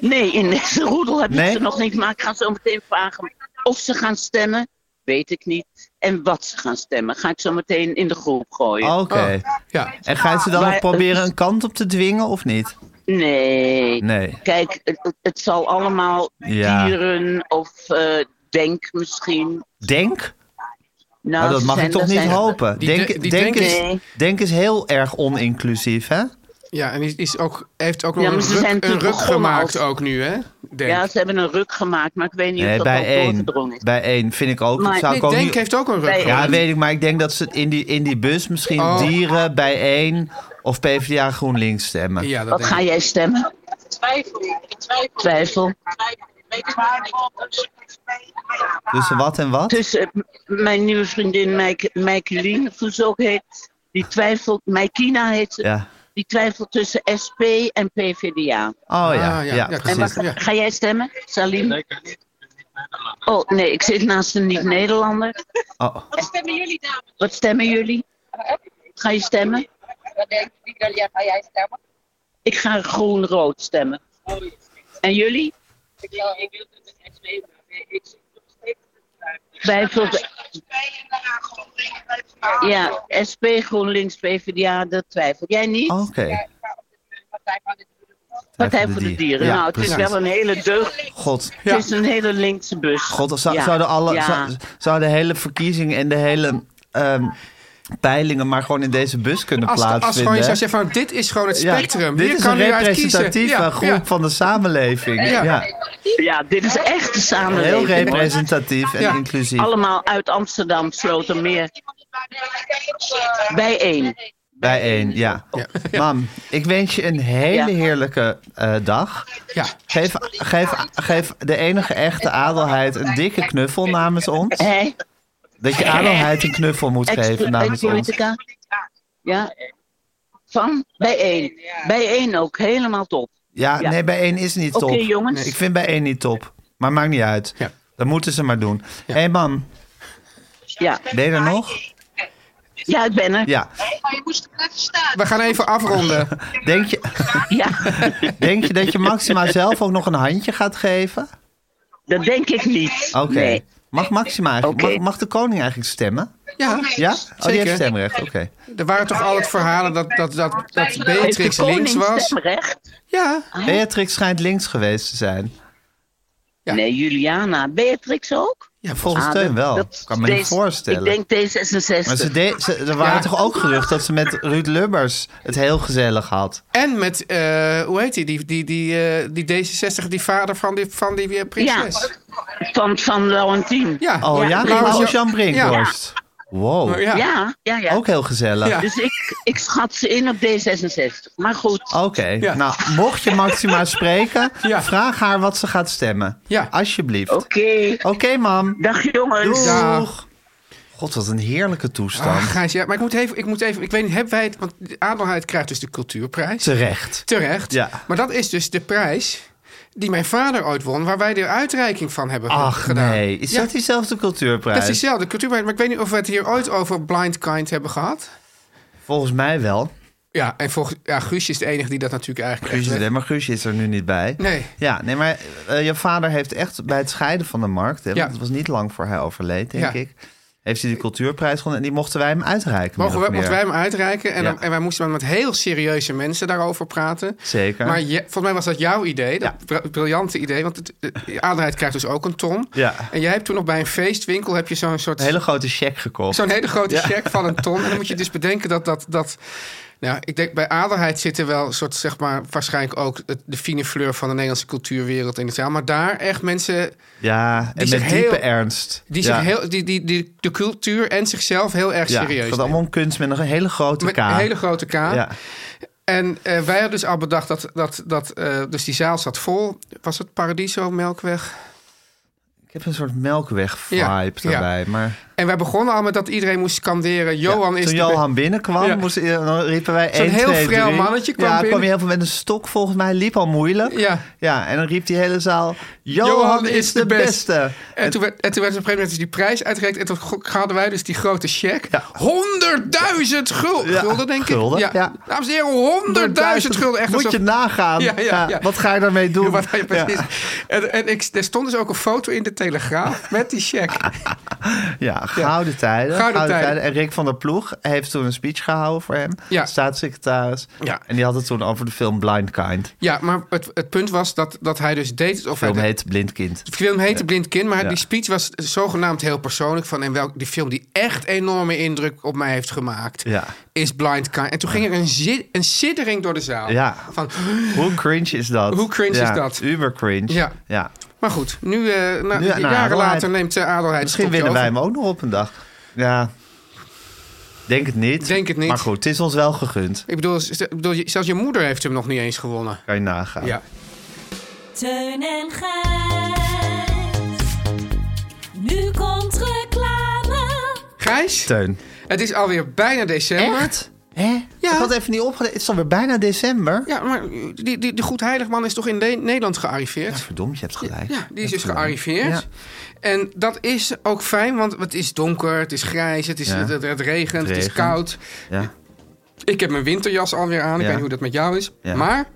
[SPEAKER 8] Nee, in deze roedel heb
[SPEAKER 4] Nee?
[SPEAKER 8] ik ze nog niet. Maar ik ga zo meteen vragen of ze gaan stemmen. Weet ik niet. En wat ze gaan stemmen. Ga ik zo meteen in de groep gooien.
[SPEAKER 4] Oké.
[SPEAKER 8] Oh.
[SPEAKER 5] Ja.
[SPEAKER 4] En gaan ze dan
[SPEAKER 8] Maar-
[SPEAKER 4] nog proberen een kant op te dwingen of niet?
[SPEAKER 8] Nee.
[SPEAKER 4] Nee.
[SPEAKER 8] Kijk, het, het- het zal allemaal
[SPEAKER 4] Ja.
[SPEAKER 8] dieren of eh, denk misschien.
[SPEAKER 4] Denk?
[SPEAKER 8] Nou,
[SPEAKER 4] Maar dat
[SPEAKER 8] ze
[SPEAKER 4] mag
[SPEAKER 8] zijn-
[SPEAKER 4] ik toch
[SPEAKER 8] daar
[SPEAKER 4] niet
[SPEAKER 8] zijn-
[SPEAKER 4] hopen.
[SPEAKER 5] Die
[SPEAKER 4] Denk,
[SPEAKER 5] de- die
[SPEAKER 4] denk,
[SPEAKER 5] denk-
[SPEAKER 4] is,
[SPEAKER 8] Nee.
[SPEAKER 4] denk is heel erg ooninclusief, hè?
[SPEAKER 5] Ja, en die is ook, heeft ook nog
[SPEAKER 8] Ja, maar
[SPEAKER 5] een
[SPEAKER 8] ze
[SPEAKER 5] ruk,
[SPEAKER 8] zijn
[SPEAKER 5] een
[SPEAKER 8] natuurlijk
[SPEAKER 5] ruk
[SPEAKER 8] begonnen
[SPEAKER 5] gemaakt
[SPEAKER 8] als-
[SPEAKER 5] ook nu, hè? Denk.
[SPEAKER 8] Ja, ze hebben een ruk gemaakt, maar ik weet niet
[SPEAKER 4] Nee,
[SPEAKER 8] of dat
[SPEAKER 4] bij
[SPEAKER 8] al
[SPEAKER 4] één.
[SPEAKER 8] doorgedrongen is.
[SPEAKER 4] Bij één vind ik ook.
[SPEAKER 8] Maar-
[SPEAKER 4] zou
[SPEAKER 5] Nee,
[SPEAKER 4] ik ook
[SPEAKER 5] Denk
[SPEAKER 4] niet-
[SPEAKER 5] heeft ook een ruk
[SPEAKER 8] Bij-
[SPEAKER 5] gemaakt.
[SPEAKER 4] Ja, weet ik, maar ik denk dat ze in die, in die bus misschien
[SPEAKER 5] Oh.
[SPEAKER 4] dieren bijeen of PvdA GroenLinks stemmen.
[SPEAKER 5] Ja, dat
[SPEAKER 8] Wat
[SPEAKER 5] denk
[SPEAKER 8] ga
[SPEAKER 5] ik.
[SPEAKER 8] jij stemmen? Twijfel. Twijfel.
[SPEAKER 4] Tussen wat en wat?
[SPEAKER 8] Tussen eh, m- mijn nieuwe vriendin Mijke- Mijkelien, of hoe ze ook heet. Die twijfelt, Mijkina heet ze.
[SPEAKER 4] Ja.
[SPEAKER 8] Die twijfelt tussen SP en PvdA.
[SPEAKER 4] Oh ja,
[SPEAKER 5] Ah,
[SPEAKER 4] ja,
[SPEAKER 5] ja. Ja,
[SPEAKER 8] En
[SPEAKER 4] precies.
[SPEAKER 8] wat,
[SPEAKER 5] Ja.
[SPEAKER 8] ga jij stemmen, Salim? Oh nee, ik zit naast een niet-Nederlander.
[SPEAKER 4] Oh.
[SPEAKER 8] Wat stemmen jullie? Ga je stemmen? Ik ga groen-rood stemmen. En jullie?
[SPEAKER 7] eh,
[SPEAKER 8] Wij volgens- Ja, SP, GroenLinks, PvdA, dat twijfel jij niet.
[SPEAKER 4] oh, Oké.
[SPEAKER 8] Partij voor de Dieren.
[SPEAKER 4] Ja,
[SPEAKER 8] nou, het
[SPEAKER 4] precies.
[SPEAKER 8] is wel een hele deugd.
[SPEAKER 4] God,
[SPEAKER 5] Ja.
[SPEAKER 8] Het is een hele linkse bus.
[SPEAKER 4] God zou,
[SPEAKER 8] Ja,
[SPEAKER 4] zouden alle,
[SPEAKER 8] ja.
[SPEAKER 4] zou, zou de hele verkiezing en de hele ehm, peilingen maar gewoon in deze bus kunnen
[SPEAKER 5] Als,
[SPEAKER 4] plaatsvinden?
[SPEAKER 5] als gewoon je
[SPEAKER 4] hè?
[SPEAKER 5] zou zeggen van, dit is gewoon het
[SPEAKER 4] Ja,
[SPEAKER 5] spectrum.
[SPEAKER 4] dit
[SPEAKER 5] Hier
[SPEAKER 4] is
[SPEAKER 5] kan
[SPEAKER 4] een
[SPEAKER 5] u uit kiezen.
[SPEAKER 4] representatieve
[SPEAKER 5] Ja,
[SPEAKER 4] groep
[SPEAKER 5] ja.
[SPEAKER 4] van de samenleving. Ja.
[SPEAKER 5] Ja.
[SPEAKER 8] Ja, dit is echt de
[SPEAKER 4] Heel
[SPEAKER 8] samenleving.
[SPEAKER 4] representatief en
[SPEAKER 5] Ja.
[SPEAKER 4] inclusief.
[SPEAKER 8] Allemaal uit Amsterdam, Slotermeer. Bijeen.
[SPEAKER 4] Bijeen, ja. Mam, ik wens je een hele
[SPEAKER 8] Ja.
[SPEAKER 4] heerlijke eh, dag.
[SPEAKER 5] Ja.
[SPEAKER 4] Geef, geef, geef de enige echte adelheid een dikke knuffel namens ons.
[SPEAKER 8] Hé,
[SPEAKER 4] Dat je adelheid een knuffel moet geven namens ons.
[SPEAKER 8] ex-politica. Ja. Van? Bijeen. Bijeen ook, helemaal top.
[SPEAKER 4] Ja,
[SPEAKER 8] Ja.
[SPEAKER 4] nee, bijeen is niet
[SPEAKER 8] Oké,
[SPEAKER 4] top.
[SPEAKER 8] jongens.
[SPEAKER 4] Ik vind bijeen niet top. Maar maakt niet uit.
[SPEAKER 5] Ja.
[SPEAKER 4] Dat moeten ze maar doen. Hé hey, mam,
[SPEAKER 8] Ja,
[SPEAKER 4] ben je er nog?
[SPEAKER 8] ja ik ben er.
[SPEAKER 4] Ja.
[SPEAKER 5] We gaan even afronden.
[SPEAKER 4] Denk je,
[SPEAKER 8] Ja,
[SPEAKER 4] denk je dat je Maxima zelf ook nog een handje gaat geven?
[SPEAKER 8] dat denk ik niet.
[SPEAKER 4] Oké.
[SPEAKER 8] Nee.
[SPEAKER 4] Mag Maxima eigenlijk,
[SPEAKER 8] Oké.
[SPEAKER 4] mag, mag de koning eigenlijk stemmen?
[SPEAKER 5] Ja,
[SPEAKER 4] Ja? Oh, die heeft
[SPEAKER 5] Zeker.
[SPEAKER 4] stemrecht. Oké.
[SPEAKER 5] er waren toch altijd verhalen dat, dat, dat, dat
[SPEAKER 8] Heeft de
[SPEAKER 5] Beatrix
[SPEAKER 8] koning
[SPEAKER 5] links was.
[SPEAKER 8] stemrecht?
[SPEAKER 5] Ja,
[SPEAKER 4] Beatrix schijnt links geweest te zijn.
[SPEAKER 5] Ja.
[SPEAKER 8] Nee, Juliana. Beatrix ook?
[SPEAKER 4] Ja, volgens
[SPEAKER 8] Ah,
[SPEAKER 4] Teun
[SPEAKER 8] dat-
[SPEAKER 4] wel.
[SPEAKER 8] dat-
[SPEAKER 4] kan me niet
[SPEAKER 8] deze-
[SPEAKER 4] voorstellen.
[SPEAKER 8] Ik denk D66.
[SPEAKER 4] maar ze deed- ze- er waren
[SPEAKER 5] Ja.
[SPEAKER 4] toch ook gerucht dat ze met Ruud Lubbers het heel gezellig had.
[SPEAKER 5] en met, eh, hoe heet die, die, die, die, eh, die D66, die vader van die, van die eh,
[SPEAKER 8] ja,
[SPEAKER 5] prinses.
[SPEAKER 8] van, van Laurentien.
[SPEAKER 5] Ja.
[SPEAKER 4] Oh ja,
[SPEAKER 5] Laurens
[SPEAKER 4] Laurens
[SPEAKER 5] Jan-
[SPEAKER 4] Jan Brinkhorst. Wow,
[SPEAKER 5] Ja.
[SPEAKER 8] Ja, ja, ja.
[SPEAKER 4] ook heel gezellig.
[SPEAKER 5] Ja.
[SPEAKER 8] Dus ik, ik schat ze in op D66. Maar goed,
[SPEAKER 4] Oké,
[SPEAKER 5] Ja.
[SPEAKER 4] nou, mocht je Maxima spreken,
[SPEAKER 5] Ja.
[SPEAKER 4] vraag haar wat ze gaat stemmen.
[SPEAKER 5] Ja.
[SPEAKER 4] Alsjeblieft.
[SPEAKER 8] oké.
[SPEAKER 4] Oké, mam.
[SPEAKER 8] Dag jongens.
[SPEAKER 5] Dag.
[SPEAKER 4] Doeg. God, wat een heerlijke toestand.
[SPEAKER 5] Ah, Gijs, ja, maar ik moet even, ik moet even, ik weet niet, hebben wij het, want de Adelheid krijgt dus de cultuurprijs.
[SPEAKER 4] Terecht.
[SPEAKER 5] Terecht.
[SPEAKER 4] Ja.
[SPEAKER 5] Maar dat is dus de prijs die mijn vader ooit won, waar wij de uitreiking van hebben
[SPEAKER 4] Ach
[SPEAKER 5] gedaan.
[SPEAKER 4] nee, is
[SPEAKER 5] Ja,
[SPEAKER 4] dat diezelfde cultuurprijs?
[SPEAKER 5] dat is diezelfde cultuurprijs, maar ik weet niet of we het hier ooit over Blind Kind hebben gehad.
[SPEAKER 4] Volgens mij wel.
[SPEAKER 5] Ja, en volgens, ja, Guusje is de enige die dat natuurlijk eigenlijk
[SPEAKER 4] Guusje,
[SPEAKER 5] echt weet.
[SPEAKER 4] nee, maar Guusje is er nu niet bij.
[SPEAKER 5] Nee.
[SPEAKER 4] Ja, nee, maar eh, je vader heeft echt bij het scheiden van de markt... Hè, want
[SPEAKER 5] Ja.
[SPEAKER 4] het was niet lang voor hij overleed, denk
[SPEAKER 5] Ja.
[SPEAKER 4] ik... heeft hij de cultuurprijs gewonnen en die mochten wij hem uitreiken.
[SPEAKER 5] Mogen
[SPEAKER 4] min
[SPEAKER 5] we,
[SPEAKER 4] of
[SPEAKER 5] mochten wij
[SPEAKER 4] meer.
[SPEAKER 5] hem uitreiken en,
[SPEAKER 4] Ja.
[SPEAKER 5] dan- en wij moesten dan met heel serieuze mensen daarover praten.
[SPEAKER 4] Zeker.
[SPEAKER 5] Maar je, volgens mij was dat jouw idee, dat br- briljante idee. Want het, de Adelheid krijgt dus ook een ton.
[SPEAKER 4] Ja.
[SPEAKER 5] En jij hebt toen nog bij een feestwinkel heb je zo'n soort...
[SPEAKER 4] Een hele grote cheque gekocht.
[SPEAKER 5] Zo'n hele grote
[SPEAKER 4] Ja.
[SPEAKER 5] check van een ton. En dan moet je dus bedenken dat dat, dat, Nou, ik denk bij adelheid zit er wel een soort, zeg maar, waarschijnlijk ook het- de fine fleur van de Nederlandse cultuurwereld in het zaal. Maar daar echt mensen
[SPEAKER 4] Ja, en
[SPEAKER 5] zich
[SPEAKER 4] met
[SPEAKER 5] heel-
[SPEAKER 4] diepe ernst.
[SPEAKER 5] die,
[SPEAKER 4] ja.
[SPEAKER 5] zich heel, die, die, die de cultuur en zichzelf heel erg
[SPEAKER 4] ja,
[SPEAKER 5] serieus
[SPEAKER 4] Het gaat
[SPEAKER 5] nemen.
[SPEAKER 4] allemaal om kunst met een hele grote
[SPEAKER 5] Met
[SPEAKER 4] K.
[SPEAKER 5] een hele grote K.
[SPEAKER 4] ja.
[SPEAKER 5] En eh, wij hadden dus al bedacht dat, dat, dat eh, dus die zaal zat vol. Was het Paradiso, Melkweg?
[SPEAKER 4] Ik heb een soort melkweg-vibe
[SPEAKER 5] Ja, ja.
[SPEAKER 4] daarbij. Maar
[SPEAKER 5] En wij begonnen al met dat iedereen moest skanderen. Johan is
[SPEAKER 4] toen
[SPEAKER 5] de
[SPEAKER 4] Johan binnenkwam,
[SPEAKER 5] Ja.
[SPEAKER 4] moest, eh, dan riepen wij
[SPEAKER 5] Zo'n
[SPEAKER 4] 1,
[SPEAKER 5] heel
[SPEAKER 4] 2,
[SPEAKER 5] frail
[SPEAKER 4] 3.
[SPEAKER 5] mannetje kwam
[SPEAKER 4] ja,
[SPEAKER 5] binnen.
[SPEAKER 4] kwam je heel veel met een stok volgens mij. Hij liep al moeilijk.
[SPEAKER 5] be- Ja.
[SPEAKER 4] Ja, en dan riep die hele zaal... Johan, is de beste.
[SPEAKER 5] En, toen werd, en toen werd op een gegeven moment dus die prijs uitgereikt. En toen go- hadden wij dus die grote cheque. 100.000 gul-
[SPEAKER 4] Ja,
[SPEAKER 5] gulden, denk
[SPEAKER 4] gulden,
[SPEAKER 5] ik.
[SPEAKER 4] ja.
[SPEAKER 5] Dames en heren, 100.000 gulden. Echt
[SPEAKER 4] Moet
[SPEAKER 5] alsof-
[SPEAKER 4] je nagaan.
[SPEAKER 5] Ja, ja, ja.
[SPEAKER 4] Wat ga je daarmee doen?
[SPEAKER 5] Ja, wat hij
[SPEAKER 4] ja.
[SPEAKER 5] precies. En, en ik, er stond dus ook een foto in de Telegraaf met die cheque.
[SPEAKER 4] Ja, gouden tijden.
[SPEAKER 5] Gouden tijden.
[SPEAKER 4] En Rick van der Ploeg heeft toen een speech gehouden voor hem.
[SPEAKER 5] Ja.
[SPEAKER 4] Staatssecretaris.
[SPEAKER 5] Ja.
[SPEAKER 4] En die had het toen over de film Blind Kind.
[SPEAKER 5] Ja, maar het, het punt was dat, dat hij dus deed alsof
[SPEAKER 4] De film
[SPEAKER 5] hij...
[SPEAKER 4] heet Blind Kind.
[SPEAKER 5] De film heette Blind Kind, maar
[SPEAKER 4] Ja.
[SPEAKER 5] die speech was zogenaamd heel persoonlijk. Van, en welk, die film die echt enorme indruk op mij heeft gemaakt,
[SPEAKER 4] Ja.
[SPEAKER 5] is Blind Kind. En toen ging er een, zi- een siddering door de zaal.
[SPEAKER 4] Ja.
[SPEAKER 5] Van,
[SPEAKER 4] Hoe cringe is dat?
[SPEAKER 5] Hoe cringe
[SPEAKER 4] Ja,
[SPEAKER 5] is dat?
[SPEAKER 4] Uber cringe.
[SPEAKER 5] Ja.
[SPEAKER 4] ja.
[SPEAKER 5] maar goed, nu, eh, na,
[SPEAKER 4] Nu, nou,
[SPEAKER 5] jaren
[SPEAKER 4] Adelheid.
[SPEAKER 5] later neemt de adelheid
[SPEAKER 4] Misschien
[SPEAKER 5] het
[SPEAKER 4] winnen
[SPEAKER 5] stokje
[SPEAKER 4] wij
[SPEAKER 5] over.
[SPEAKER 4] hem ook nog op een dag. Ja. Denk het niet.
[SPEAKER 5] Denk het niet.
[SPEAKER 4] Maar goed, het is ons wel gegund.
[SPEAKER 5] Ik bedoel, z- ik bedoel, je- zelfs je moeder heeft hem nog niet eens gewonnen.
[SPEAKER 4] Kan je nagaan.
[SPEAKER 5] Ja.
[SPEAKER 7] Teun en Gijs. Nu komt reclame.
[SPEAKER 5] Gijs,
[SPEAKER 4] Teun.
[SPEAKER 5] het is alweer bijna december.
[SPEAKER 4] Hè?
[SPEAKER 5] Ja.
[SPEAKER 4] Ik had even niet opgelet. Het is alweer bijna december.
[SPEAKER 5] Ja, maar die, die, die Goedheiligman is toch in Ne- Nederland gearriveerd?
[SPEAKER 4] Verdomd, je hebt gelijk.
[SPEAKER 5] Ja, die is dus
[SPEAKER 4] Verdomd.
[SPEAKER 5] gearriveerd.
[SPEAKER 4] Ja.
[SPEAKER 5] En dat is ook fijn, want het is donker, het is grijs, het, is,
[SPEAKER 4] Ja.
[SPEAKER 5] het, het- het regent, het,
[SPEAKER 4] Het
[SPEAKER 5] is
[SPEAKER 4] regent.
[SPEAKER 5] koud.
[SPEAKER 4] Ja.
[SPEAKER 5] Ik heb mijn winterjas alweer aan, ik
[SPEAKER 4] Ja.
[SPEAKER 5] weet niet hoe dat met jou is.
[SPEAKER 4] Ja.
[SPEAKER 5] Maar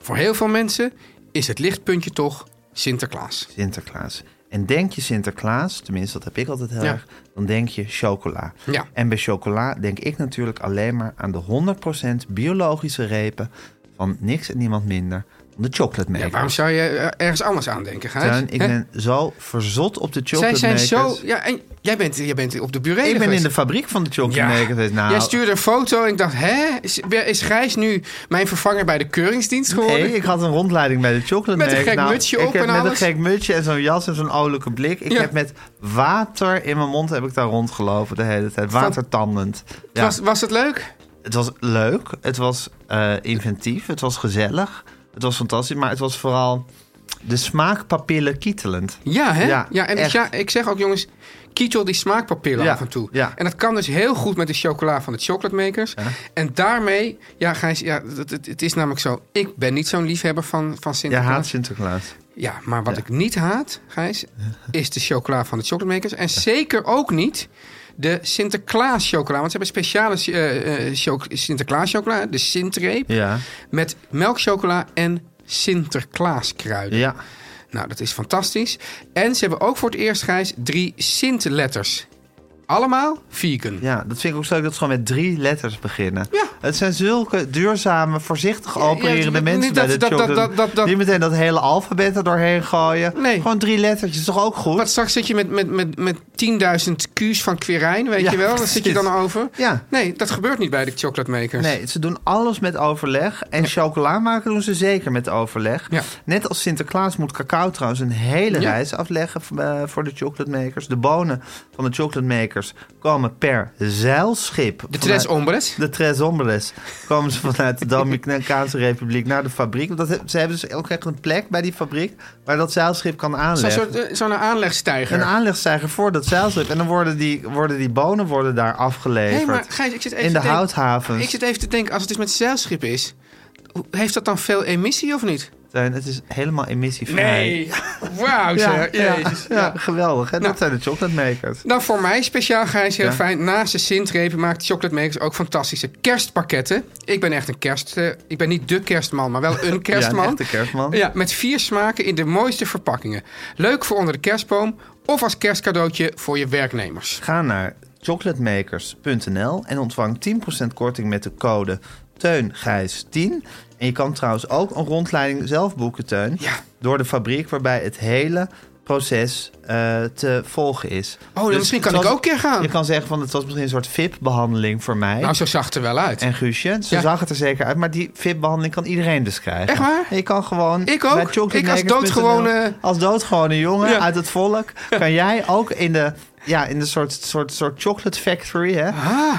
[SPEAKER 5] voor heel veel mensen is het lichtpuntje toch Sinterklaas.
[SPEAKER 4] Sinterklaas. En denk je Sinterklaas, tenminste dat heb ik altijd heel
[SPEAKER 5] Ja.
[SPEAKER 4] erg, dan denk je chocola.
[SPEAKER 5] Ja.
[SPEAKER 4] En bij chocola denk ik natuurlijk alleen maar aan de 100% biologische repen van niks en niemand minder dan de chocolate maker.
[SPEAKER 5] Ja, waarom zou je eh, ergens anders aan denken, Gijs?
[SPEAKER 4] Teun, ik
[SPEAKER 5] Hè?
[SPEAKER 4] ben zo verzot op de
[SPEAKER 5] Zij
[SPEAKER 4] chocolate
[SPEAKER 5] zijn zo...
[SPEAKER 4] makers.
[SPEAKER 5] Ja, en jij bent, jij bent op de burelen
[SPEAKER 4] Ik ben in
[SPEAKER 5] geweest.
[SPEAKER 4] de fabriek van de chocolate
[SPEAKER 5] Ja.
[SPEAKER 4] makers. Nou,
[SPEAKER 5] Jij stuurde een foto en ik dacht, hè? Is, is Gijs nu mijn vervanger bij de keuringsdienst geworden?
[SPEAKER 4] Nee, ik had een rondleiding bij de chocolate
[SPEAKER 5] Met een
[SPEAKER 4] maker.
[SPEAKER 5] gek mutsje
[SPEAKER 4] ik
[SPEAKER 5] op
[SPEAKER 4] heb
[SPEAKER 5] en
[SPEAKER 4] met
[SPEAKER 5] alles.
[SPEAKER 4] een gek mutsje en zo'n jas en zo'n oudelijke blik. Ik
[SPEAKER 5] Ja.
[SPEAKER 4] heb met water in mijn mond heb ik daar rondgelopen de hele tijd. Watertandend. Ja.
[SPEAKER 5] was, was het leuk?
[SPEAKER 4] Het was leuk, het was eh, inventief, het was gezellig, het was fantastisch, maar het was vooral de smaakpapillen kietelend.
[SPEAKER 5] Ja, hè? Ja,
[SPEAKER 4] Ja,
[SPEAKER 5] en ik,
[SPEAKER 4] echt.
[SPEAKER 5] ja, ik zeg ook, jongens, kietel die smaakpapillen
[SPEAKER 4] Ja,
[SPEAKER 5] af en toe.
[SPEAKER 4] ja.
[SPEAKER 5] En dat kan dus heel goed met de chocola van de chocolademakers. En daarmee, ja, Gijs, ja, het, het, het is namelijk zo. Ik ben niet zo'n liefhebber van, van
[SPEAKER 4] Ja, haat
[SPEAKER 5] Sinterklaas. Ja,
[SPEAKER 4] Sinterklaas.
[SPEAKER 5] maar wat ik niet haat, Gijs, is de chocola van de chocolademakers. En zeker ook niet de Sinterklaas chocola. Want ze hebben speciale eh, eh, choc- Sinterklaas chocola, de Sintreep.
[SPEAKER 4] Ja,
[SPEAKER 5] Met melkchocola en Sinterklaas kruiden.
[SPEAKER 4] ja.
[SPEAKER 5] Nou, dat is fantastisch. En ze hebben ook voor het eerst, Gijs, drie Sint-letters. Allemaal vegan.
[SPEAKER 4] ja, dat vind ik ook zo leuk dat ze gewoon met drie letters beginnen.
[SPEAKER 5] Ja.
[SPEAKER 4] Het zijn zulke duurzame, voorzichtig opererende
[SPEAKER 5] ja,
[SPEAKER 4] mensen
[SPEAKER 5] niet
[SPEAKER 4] bij
[SPEAKER 5] dat-
[SPEAKER 4] de
[SPEAKER 5] dat- dat-
[SPEAKER 4] chocolate.
[SPEAKER 5] dat- dat- dat-
[SPEAKER 4] Die meteen dat hele alfabet er doorheen gooien.
[SPEAKER 5] Nee.
[SPEAKER 4] Gewoon drie lettertjes, toch ook goed?
[SPEAKER 5] Want straks zit je met, met, met, met 10.000 Q's van Quirijn, weet
[SPEAKER 4] Ja,
[SPEAKER 5] je wel? Daar zit je dan
[SPEAKER 4] precies.
[SPEAKER 5] over.
[SPEAKER 4] Ja.
[SPEAKER 5] Nee, dat gebeurt niet bij de chocolademakers.
[SPEAKER 4] Nee, ze doen alles met overleg. En chocola maken doen ze zeker met overleg.
[SPEAKER 5] Ja.
[SPEAKER 4] Net als Sinterklaas moet cacao trouwens een hele
[SPEAKER 5] Ja.
[SPEAKER 4] reis afleggen eh, voor de chocolademakers. De bonen van de chocolademakers komen per zeilschip.
[SPEAKER 5] De
[SPEAKER 4] vanuit-
[SPEAKER 5] tres ombres.
[SPEAKER 4] De Tres Hombres. Komen ze vanuit de Dominicaanse Republiek naar de fabriek. Want dat, he- ze hebben dus ook echt een plek bij die fabriek waar dat zeilschip kan
[SPEAKER 5] Zo'n
[SPEAKER 4] aanleggen.
[SPEAKER 5] soort, eh, zo'n aanlegstijger.
[SPEAKER 4] Een aanlegstijger voor dat zeilschip. En dan worden die, worden die bonen worden daar afgeleverd.
[SPEAKER 5] Hey, maar Gijs, ik zit even
[SPEAKER 4] in
[SPEAKER 5] te
[SPEAKER 4] de
[SPEAKER 5] denken-
[SPEAKER 4] houthavens.
[SPEAKER 5] Ik zit even te denken, als het dus met zeilschip is... hoe- Heeft dat dan veel emissie of niet?
[SPEAKER 4] Teun, het is helemaal emissievrij.
[SPEAKER 5] Wauw,
[SPEAKER 4] Ja,
[SPEAKER 5] zeg.
[SPEAKER 4] ja,
[SPEAKER 5] Jezus.
[SPEAKER 4] ja, geweldig. Hè?
[SPEAKER 5] Nou.
[SPEAKER 4] dat zijn de chocolate makers.
[SPEAKER 5] Nou, voor mij speciaal, Gijs, heel
[SPEAKER 4] Ja.
[SPEAKER 5] fijn. Naast de Sintrepen maakt Chocolate Makers ook fantastische kerstpakketten. Ik ben echt een kerst... eh, ik ben niet de kerstman, maar wel een kerstman.
[SPEAKER 4] Ja, een echte kerstman.
[SPEAKER 5] Ja, met vier smaken in de mooiste verpakkingen. Leuk voor onder de kerstboom of als kerstcadeautje voor je werknemers.
[SPEAKER 4] Ga naar chocolatemakers.nl en ontvang 10% korting met de code TEUNGIJS10. En je kan trouwens ook een rondleiding zelf boeken, Teun.
[SPEAKER 5] Ja.
[SPEAKER 4] Door de fabriek waarbij het hele proces eh, te volgen is. Dus
[SPEAKER 5] Oh, dan misschien kan
[SPEAKER 4] het
[SPEAKER 5] ik ook een keer gaan.
[SPEAKER 4] Je kan zeggen van het was misschien een soort VIP-behandeling voor mij.
[SPEAKER 5] Nou, zo zag het er wel uit.
[SPEAKER 4] En Guusje, zo
[SPEAKER 5] Ja.
[SPEAKER 4] zag het er zeker uit. Maar die VIP-behandeling kan iedereen dus krijgen.
[SPEAKER 5] Echt waar?
[SPEAKER 4] En je kan gewoon...
[SPEAKER 5] Ik ook.
[SPEAKER 4] bij chocolate
[SPEAKER 5] Ik als
[SPEAKER 4] makers.nl
[SPEAKER 5] doodgewone-
[SPEAKER 4] Als doodgewone jongen
[SPEAKER 5] Ja.
[SPEAKER 4] uit het volk... kan jij ook in de... Ja, in de soort, soort, soort chocolate factory hè,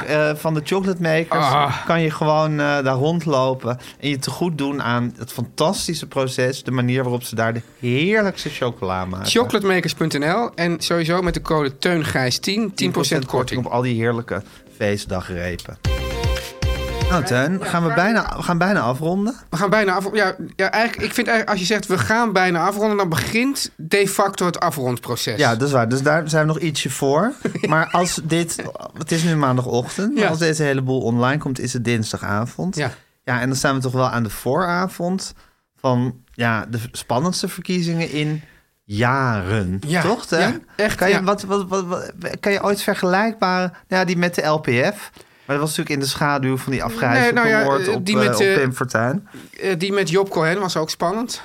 [SPEAKER 4] eh, van de chocolate makers...
[SPEAKER 5] Ah.
[SPEAKER 4] kan je gewoon eh, daar rondlopen... en je te goed doen aan het fantastische proces... de manier waarop ze daar de heerlijkste chocola maken.
[SPEAKER 5] Chocolatemakers.nl en sowieso met de code TEUNGRIJS10 10%,
[SPEAKER 4] 10% korting op al die heerlijke feestdagrepen. Nou, Teun, gaan we, bijna, we gaan bijna afronden.
[SPEAKER 5] We gaan bijna af. Ja, ja, eigenlijk, ik vind eigenlijk als je zegt we gaan bijna afronden, dan begint de facto het afrondproces.
[SPEAKER 4] Ja, dat is waar. Dus daar zijn we nog ietsje voor. Maar als dit... Het is nu maandagochtend. Maar
[SPEAKER 5] Ja.
[SPEAKER 4] als deze hele boel online komt, is het dinsdagavond.
[SPEAKER 5] Ja.
[SPEAKER 4] ja, en dan staan we toch wel aan de vooravond... van ja, de spannendste verkiezingen in jaren.
[SPEAKER 5] Ja,
[SPEAKER 4] Toch, Teun?
[SPEAKER 5] ja, echt,
[SPEAKER 4] Kan je,
[SPEAKER 5] ja.
[SPEAKER 4] wat, wat, wat, wat- kan je ooit vergelijkbare... nou Ja, die met de LPF... Maar dat was natuurlijk in de schaduw van die afgrijzelijke
[SPEAKER 5] Nee, nou ja,
[SPEAKER 4] moord
[SPEAKER 5] eh,
[SPEAKER 4] op,
[SPEAKER 5] die
[SPEAKER 4] eh,
[SPEAKER 5] met,
[SPEAKER 4] op
[SPEAKER 5] eh,
[SPEAKER 4] Pim Fortuyn.
[SPEAKER 5] Eh, die met Job Cohen was ook spannend.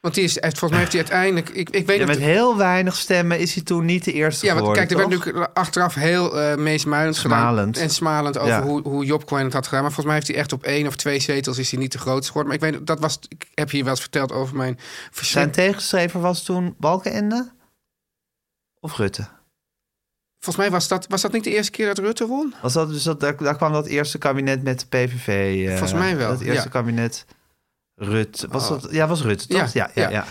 [SPEAKER 5] Want die is, hij heeft- volgens mij heeft hij uiteindelijk. Ik, ik weet
[SPEAKER 4] Ja,
[SPEAKER 5] niet.
[SPEAKER 4] met heel weinig stemmen is hij toen niet de eerste
[SPEAKER 5] Ja, want
[SPEAKER 4] geworden.
[SPEAKER 5] kijk, er werd
[SPEAKER 4] toch?
[SPEAKER 5] natuurlijk achteraf heel eh meesmuilend gedaan.
[SPEAKER 4] Smalend.
[SPEAKER 5] En smalend over
[SPEAKER 4] Ja.
[SPEAKER 5] hoe, hoe Job Cohen het had gedaan. Maar volgens mij heeft hij echt op één of twee zetels is hij niet de grootste geworden. Maar ik weet, dat was, ik heb hier wel eens verteld over mijn
[SPEAKER 4] Zijn
[SPEAKER 5] verschrik,
[SPEAKER 4] tegenstrever was toen Balkenende of Rutte?
[SPEAKER 5] Volgens mij was dat, was dat niet de eerste keer dat Rutte won?
[SPEAKER 4] Was dat, dus dat, daar, daar kwam dat eerste kabinet met de PVV. eh,
[SPEAKER 5] Volgens mij wel,
[SPEAKER 4] Dat eerste
[SPEAKER 5] ja.
[SPEAKER 4] kabinet Rutte. Was
[SPEAKER 5] Oh.
[SPEAKER 4] dat, ja, was Rutte, toch?
[SPEAKER 5] Ja,
[SPEAKER 4] Ja, ja, ja,
[SPEAKER 5] ja.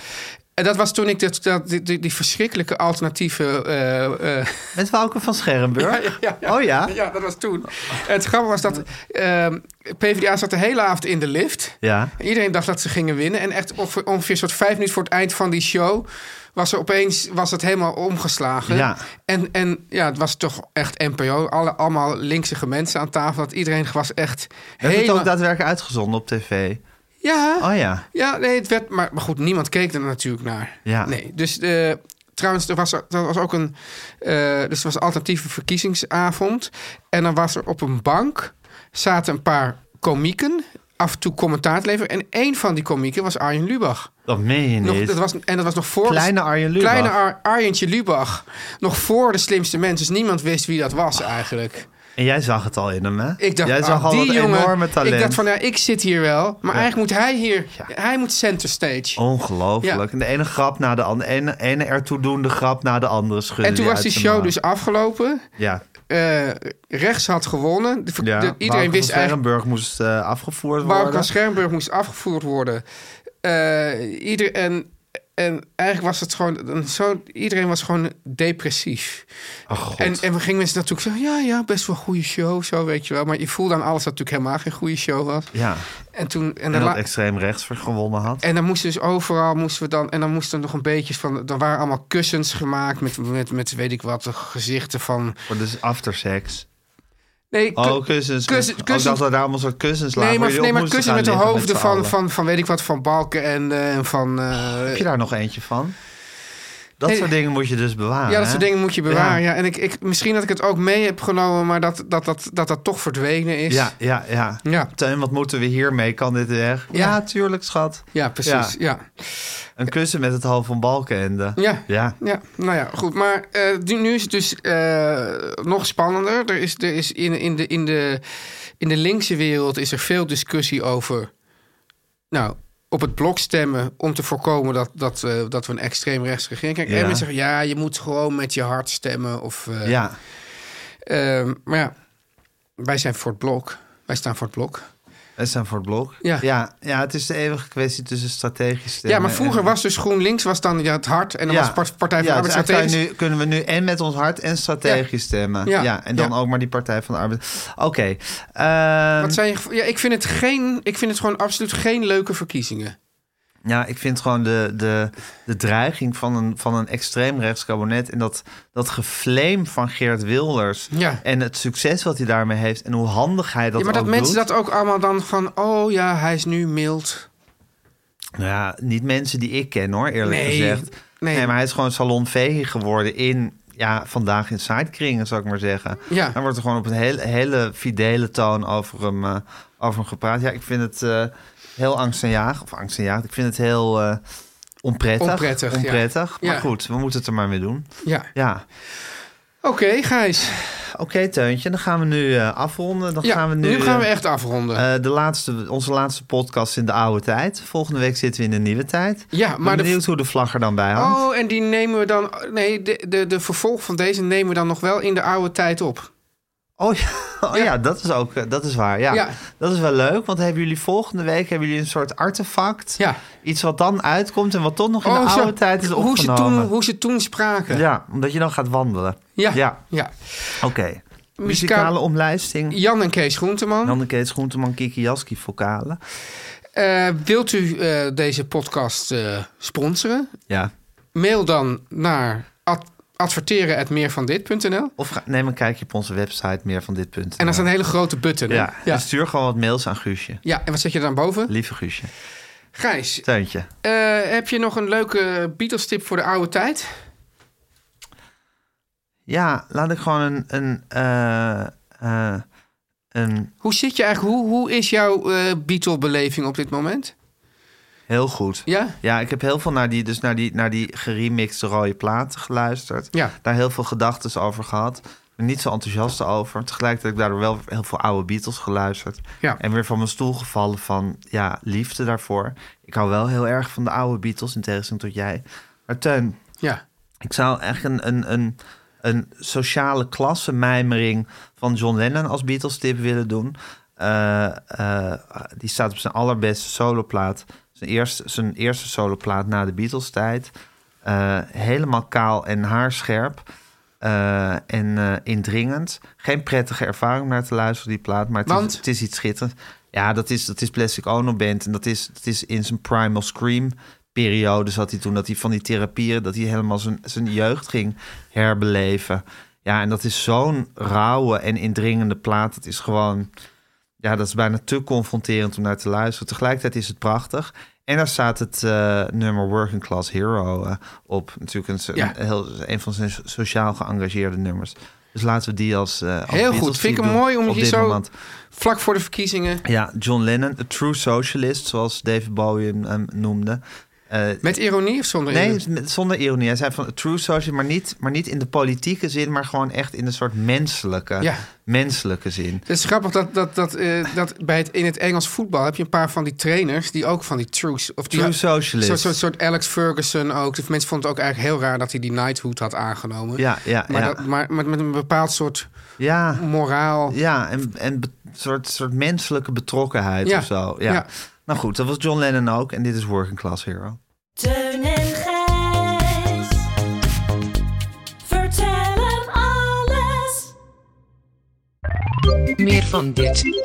[SPEAKER 5] En dat was toen ik dat, dat, die, die, die verschrikkelijke alternatieve. eh, eh,
[SPEAKER 4] Met Wauke van Schermburg.
[SPEAKER 5] Ja, ja,
[SPEAKER 4] Oh ja?
[SPEAKER 5] ja, dat was toen. En het grappige was dat ehm, PvdA zat de hele avond in de lift.
[SPEAKER 4] Ja.
[SPEAKER 5] En Iedereen dacht dat ze gingen winnen. En echt ongeveer, ongeveer soort vijf minuten voor het eind van die show... was er opeens was het helemaal omgeslagen.
[SPEAKER 4] Ja.
[SPEAKER 5] En, en ja, het was toch echt NPO. Alle, allemaal linksige mensen aan tafel. Dat iedereen was echt
[SPEAKER 4] Heeft het
[SPEAKER 5] helemaal...
[SPEAKER 4] ook daadwerkelijk uitgezonden op tv?
[SPEAKER 5] Ja.
[SPEAKER 4] Oh ja.
[SPEAKER 5] Ja, nee, het werd. Maar, maar goed, niemand keek er natuurlijk naar.
[SPEAKER 4] Ja.
[SPEAKER 5] Nee, dus eh, trouwens, er was, er was ook een. eh, dus er was een alternatieve verkiezingsavond. En dan was er op een bank. zaten een paar komieken. af en toe commentaar te leveren. En één van die komieken was Arjen Lubach.
[SPEAKER 4] Dat meen je
[SPEAKER 5] Nog,
[SPEAKER 4] niet.
[SPEAKER 5] dat was, en dat was nog voor.
[SPEAKER 4] Kleine Arjen Lubach.
[SPEAKER 5] Kleine Ar- Arjentje Lubach. Nog voor de slimste mensen. Dus niemand wist wie dat was eigenlijk.
[SPEAKER 4] En jij zag het al in hem, hè?
[SPEAKER 5] Ik dacht,
[SPEAKER 4] jij
[SPEAKER 5] ah,
[SPEAKER 4] zag al
[SPEAKER 5] die
[SPEAKER 4] dat
[SPEAKER 5] jongen.
[SPEAKER 4] enorme talent.
[SPEAKER 5] Ik dacht van, ja, ik zit hier wel. Maar
[SPEAKER 4] Ja.
[SPEAKER 5] eigenlijk moet hij hier.
[SPEAKER 4] Ja.
[SPEAKER 5] Hij moet center stage.
[SPEAKER 4] Ongelooflijk. De ene grap na de andere. Ene, ene ertoe doende grap na de andere schudde
[SPEAKER 5] En toen
[SPEAKER 4] hij
[SPEAKER 5] was
[SPEAKER 4] uit
[SPEAKER 5] die
[SPEAKER 4] zijn
[SPEAKER 5] show
[SPEAKER 4] mouw.
[SPEAKER 5] dus afgelopen.
[SPEAKER 4] Ja.
[SPEAKER 5] Eh, rechts had gewonnen. De ver-
[SPEAKER 4] ja.
[SPEAKER 5] de- iedereen wist eigenlijk.
[SPEAKER 4] Schermburg moest eh, afgevoerd
[SPEAKER 5] Wouter van
[SPEAKER 4] worden.
[SPEAKER 5] Schermburg moest afgevoerd worden. Eh, ieder, en, en eigenlijk was het gewoon. een Zo, iedereen was gewoon depressief.
[SPEAKER 4] Ach, Oh, God.
[SPEAKER 5] En, en we gingen mensen natuurlijk zeggen: ja, ja, best wel een goede show, zo weet je wel. Maar je voelde aan alles dat het natuurlijk helemaal geen goede show was.
[SPEAKER 4] ja.
[SPEAKER 5] En toen. En,
[SPEAKER 4] En
[SPEAKER 5] dan
[SPEAKER 4] dat extreem rechts ver- gewonnen had.
[SPEAKER 5] en dan moesten dus overal moesten we dan. En dan moesten er nog een beetje van. Er waren allemaal kussens gemaakt met, met, met weet ik wat, gezichten van.
[SPEAKER 4] Voor dus aftersex.
[SPEAKER 5] Nee, ku-
[SPEAKER 4] Oh, kussens. Kussen,
[SPEAKER 5] kussen- kussen-
[SPEAKER 4] ik dacht dat daar allemaal zo'n kussens lagen.
[SPEAKER 5] Nee,
[SPEAKER 4] waar
[SPEAKER 5] maar,
[SPEAKER 4] je op
[SPEAKER 5] nee, maar
[SPEAKER 4] moest
[SPEAKER 5] kussen
[SPEAKER 4] gaan
[SPEAKER 5] met de
[SPEAKER 4] liggen
[SPEAKER 5] hoofden
[SPEAKER 4] z'n
[SPEAKER 5] van,
[SPEAKER 4] allen.
[SPEAKER 5] van, van, weet ik wat, van Balken en eh, en van... eh,
[SPEAKER 4] Heb je daar nog eentje van? Dat
[SPEAKER 5] Nee.
[SPEAKER 4] soort dingen moet je dus bewaren.
[SPEAKER 5] ja, dat
[SPEAKER 4] hè?
[SPEAKER 5] soort dingen moet je bewaren.
[SPEAKER 4] Ja.
[SPEAKER 5] Ja. En ik, ik, misschien dat ik het ook mee heb genomen, maar dat dat, dat, dat, dat toch verdwenen is.
[SPEAKER 4] Ja, ja, ja.
[SPEAKER 5] Ja.
[SPEAKER 4] Teun, wat moeten we hiermee? Kan dit weg? Ja,
[SPEAKER 5] Ja.
[SPEAKER 4] tuurlijk, schat.
[SPEAKER 5] Ja, precies.
[SPEAKER 4] Ja.
[SPEAKER 5] Ja.
[SPEAKER 4] Een kussen met het half van balkenende.
[SPEAKER 5] Ja.
[SPEAKER 4] Ja.
[SPEAKER 5] Ja, nou ja, goed. Maar eh, nu- nu is het dus eh, nog spannender. Er is, er is in, in, de, in, de, in de linkse wereld is er veel discussie over. Nou, op het blok stemmen om te voorkomen dat, dat, eh, dat we een extreemrechts regering krijgen.
[SPEAKER 4] Ja.
[SPEAKER 5] En mensen zeggen, ja, je moet gewoon met je hart stemmen. Of, eh,
[SPEAKER 4] ja.
[SPEAKER 5] ehm, maar ja, wij zijn voor het blok. Wij staan voor het blok.
[SPEAKER 4] Wij staan voor het blok.
[SPEAKER 5] Ja.
[SPEAKER 4] Ja, ja, het is de eeuwige kwestie tussen strategisch stemmen
[SPEAKER 5] ja, maar vroeger
[SPEAKER 4] en-
[SPEAKER 5] was dus GroenLinks was dan ja, het hart. En dan
[SPEAKER 4] eh, Ja.
[SPEAKER 5] was Part- Partij van
[SPEAKER 4] ja,
[SPEAKER 5] de Arbeid
[SPEAKER 4] dus eigenlijk
[SPEAKER 5] strategisch.
[SPEAKER 4] kan je nu, kunnen we nu en met ons hart en strategisch stemmen. Ja.
[SPEAKER 5] Ja.
[SPEAKER 4] en dan
[SPEAKER 5] Ja.
[SPEAKER 4] ook maar die Partij van de Arbeid. Oké. ehm,
[SPEAKER 5] Wat zijn je gevo- ja, ik, vind het geen, ik vind het gewoon absoluut geen leuke verkiezingen.
[SPEAKER 4] Ja, ik vind gewoon de, de, de dreiging van een, van een extreemrechts kabinet... en dat, dat geflame van Geert Wilders...
[SPEAKER 5] Ja.
[SPEAKER 4] en het succes wat hij daarmee heeft... en hoe handig hij dat
[SPEAKER 5] ja, maar dat
[SPEAKER 4] ook
[SPEAKER 5] mensen
[SPEAKER 4] doet.
[SPEAKER 5] dat ook allemaal dan van, oh ja, hij is nu mild.
[SPEAKER 4] Nou ja, niet mensen die ik ken hoor, eerlijk
[SPEAKER 5] Nee,
[SPEAKER 4] gezegd.
[SPEAKER 5] nee.
[SPEAKER 4] maar hij is gewoon salonvee geworden in... Ja, vandaag in sidekringen, zou ik maar zeggen.
[SPEAKER 5] Ja.
[SPEAKER 4] Dan wordt er gewoon op een hele, hele fidele toon over hem, eh, over hem gepraat. Ja, ik vind het eh, heel angstaanjaag. Of angstaanjaag. Ik vind het heel eh, onprettig.
[SPEAKER 5] Onprettig, ja.
[SPEAKER 4] onprettig. Maar
[SPEAKER 5] Ja.
[SPEAKER 4] goed, we moeten het er maar mee doen.
[SPEAKER 5] Ja.
[SPEAKER 4] Ja.
[SPEAKER 5] Oké, Gijs.
[SPEAKER 4] Oké, Teuntje, dan gaan we nu eh, afronden. Dan
[SPEAKER 5] Ja,
[SPEAKER 4] gaan we nu,
[SPEAKER 5] nu gaan we
[SPEAKER 4] eh,
[SPEAKER 5] echt afronden.
[SPEAKER 4] eh, de laatste, onze laatste podcast in de oude tijd. Volgende week zitten we in de nieuwe tijd.
[SPEAKER 5] Ja,
[SPEAKER 4] Ik ben
[SPEAKER 5] maar de-
[SPEAKER 4] benieuwd hoe de vlag er dan bij hangt.
[SPEAKER 5] Oh, en die nemen we dan. Nee, de, de, de vervolg van deze nemen we dan nog wel in de oude tijd op.
[SPEAKER 4] Oh ja, oh, ja. dat is ook, eh, dat is waar. Ja.
[SPEAKER 5] Ja.
[SPEAKER 4] dat is wel leuk. Want hebben jullie volgende week hebben jullie een soort artefact,
[SPEAKER 5] Ja. Oh,
[SPEAKER 4] iets wat dan uitkomt en wat toch nog in de
[SPEAKER 5] zo-
[SPEAKER 4] oude tijd is
[SPEAKER 5] hoe ze, toen,
[SPEAKER 4] opgenomen.
[SPEAKER 5] hoe ze toen spraken.
[SPEAKER 4] Ja, omdat je dan gaat wandelen.
[SPEAKER 5] Ja.
[SPEAKER 4] ja.
[SPEAKER 5] Ja.
[SPEAKER 4] Oké. Muzikale omlijsting.
[SPEAKER 5] Jan en Kees Groenteman.
[SPEAKER 4] Nanne Kees Groenteman, Kiki Jaski, vocalen.
[SPEAKER 5] Eh, wilt u eh, deze podcast eh, sponsoren?
[SPEAKER 4] Ja.
[SPEAKER 5] Mail dan naar ad adverteren.meervandit.nl.
[SPEAKER 4] Of ga- neem een kijkje op onze website meer van dit punt.
[SPEAKER 5] En dat is een hele grote button. hè?
[SPEAKER 4] ja. En
[SPEAKER 5] Ja.
[SPEAKER 4] stuur gewoon wat mails aan Guusje.
[SPEAKER 5] ja, en wat zet je dan boven?
[SPEAKER 4] Lieve Guusje.
[SPEAKER 5] Gijs,
[SPEAKER 4] Teuntje.
[SPEAKER 5] eh, heb je nog een leuke Beatles-tip voor de oude tijd?
[SPEAKER 4] Ja, laat ik gewoon een... een, eh, eh, een
[SPEAKER 5] Hoe zit je eigenlijk? Hoe, hoe is jouw eh Beatle-beleving op dit moment?
[SPEAKER 4] heel goed.
[SPEAKER 5] Ja?
[SPEAKER 4] Ja, ik heb heel veel naar die, dus naar die, naar die geremixte rode platen geluisterd.
[SPEAKER 5] Ja.
[SPEAKER 4] Daar heel veel gedachten over gehad. Ik ben niet zo enthousiast over. Tegelijkertijd heb ik daardoor wel heel veel oude Beatles geluisterd.
[SPEAKER 5] Ja.
[SPEAKER 4] En weer van mijn stoel gevallen van ja, liefde daarvoor. Ik hou wel heel erg van de oude Beatles, in tegenstelling tot jij. Maar Teun,
[SPEAKER 5] Ja.
[SPEAKER 4] ik zou echt een, een, een, een sociale klasse mijmering van John Lennon als Beatles tip willen doen. Eh, eh, die staat op zijn allerbeste soloplaat. Zijn eerste, zijn eerste soloplaat na de Beatles tijd. Eh, helemaal kaal en haarscherp. Eh, en eh, indringend. Geen prettige ervaring om naar te luisteren, die plaat. Maar het,
[SPEAKER 5] Want?
[SPEAKER 4] Is, het is iets schitterends. Ja, dat is, dat is Plastic Ono Band. En dat is, dat is in zijn Primal Scream periode zat hij toen. Dat hij van die therapieën, dat hij helemaal zijn, zijn jeugd ging herbeleven. Ja, en dat is zo'n rauwe en indringende plaat. Het is gewoon... Ja, dat is bijna te confronterend om naar te luisteren. Tegelijkertijd is het prachtig. En daar staat het eh, nummer Working Class Hero eh, op. Natuurlijk een, so-
[SPEAKER 5] Ja.
[SPEAKER 4] een heel, een van zijn so- sociaal geëngageerde nummers. Dus laten we die als... eh, als
[SPEAKER 5] Heel
[SPEAKER 4] Beatles
[SPEAKER 5] goed. Vind
[SPEAKER 4] die
[SPEAKER 5] ik hem
[SPEAKER 4] doen
[SPEAKER 5] mooi om
[SPEAKER 4] op
[SPEAKER 5] hier
[SPEAKER 4] dit
[SPEAKER 5] zo
[SPEAKER 4] moment.
[SPEAKER 5] vlak voor de verkiezingen
[SPEAKER 4] Ja, John Lennon, a true socialist, zoals David Bowie hem, hem noemde. Eh,
[SPEAKER 5] met ironie of zonder
[SPEAKER 4] nee,
[SPEAKER 5] ironie?
[SPEAKER 4] het- met- zonder ironie. Hij zei van a true socialist, maar niet, maar niet in de politieke zin, maar gewoon echt in een soort menselijke,
[SPEAKER 5] Ja.
[SPEAKER 4] menselijke zin.
[SPEAKER 5] Het is grappig dat, dat, dat, eh, dat bij het, in het Engels voetbal heb je een paar van die trainers die ook van die truce of die-
[SPEAKER 4] True socialist.
[SPEAKER 5] Zo'n soort, soort Alex Ferguson ook. De mensen vonden het ook eigenlijk heel raar dat hij die knighthood had aangenomen.
[SPEAKER 4] Ja, ja,
[SPEAKER 5] maar,
[SPEAKER 4] ja.
[SPEAKER 5] dat- maar, maar met een bepaald soort
[SPEAKER 4] Ja,
[SPEAKER 5] moraal.
[SPEAKER 4] ja en, en be- soort, soort menselijke betrokkenheid
[SPEAKER 5] Ja,
[SPEAKER 4] of zo. Ja.
[SPEAKER 5] ja.
[SPEAKER 4] Nou goed, dat was John Lennon ook en dit is Working Class Hero.
[SPEAKER 7] Teun en Gijs. Vertel hem alles.
[SPEAKER 3] Meer van dit.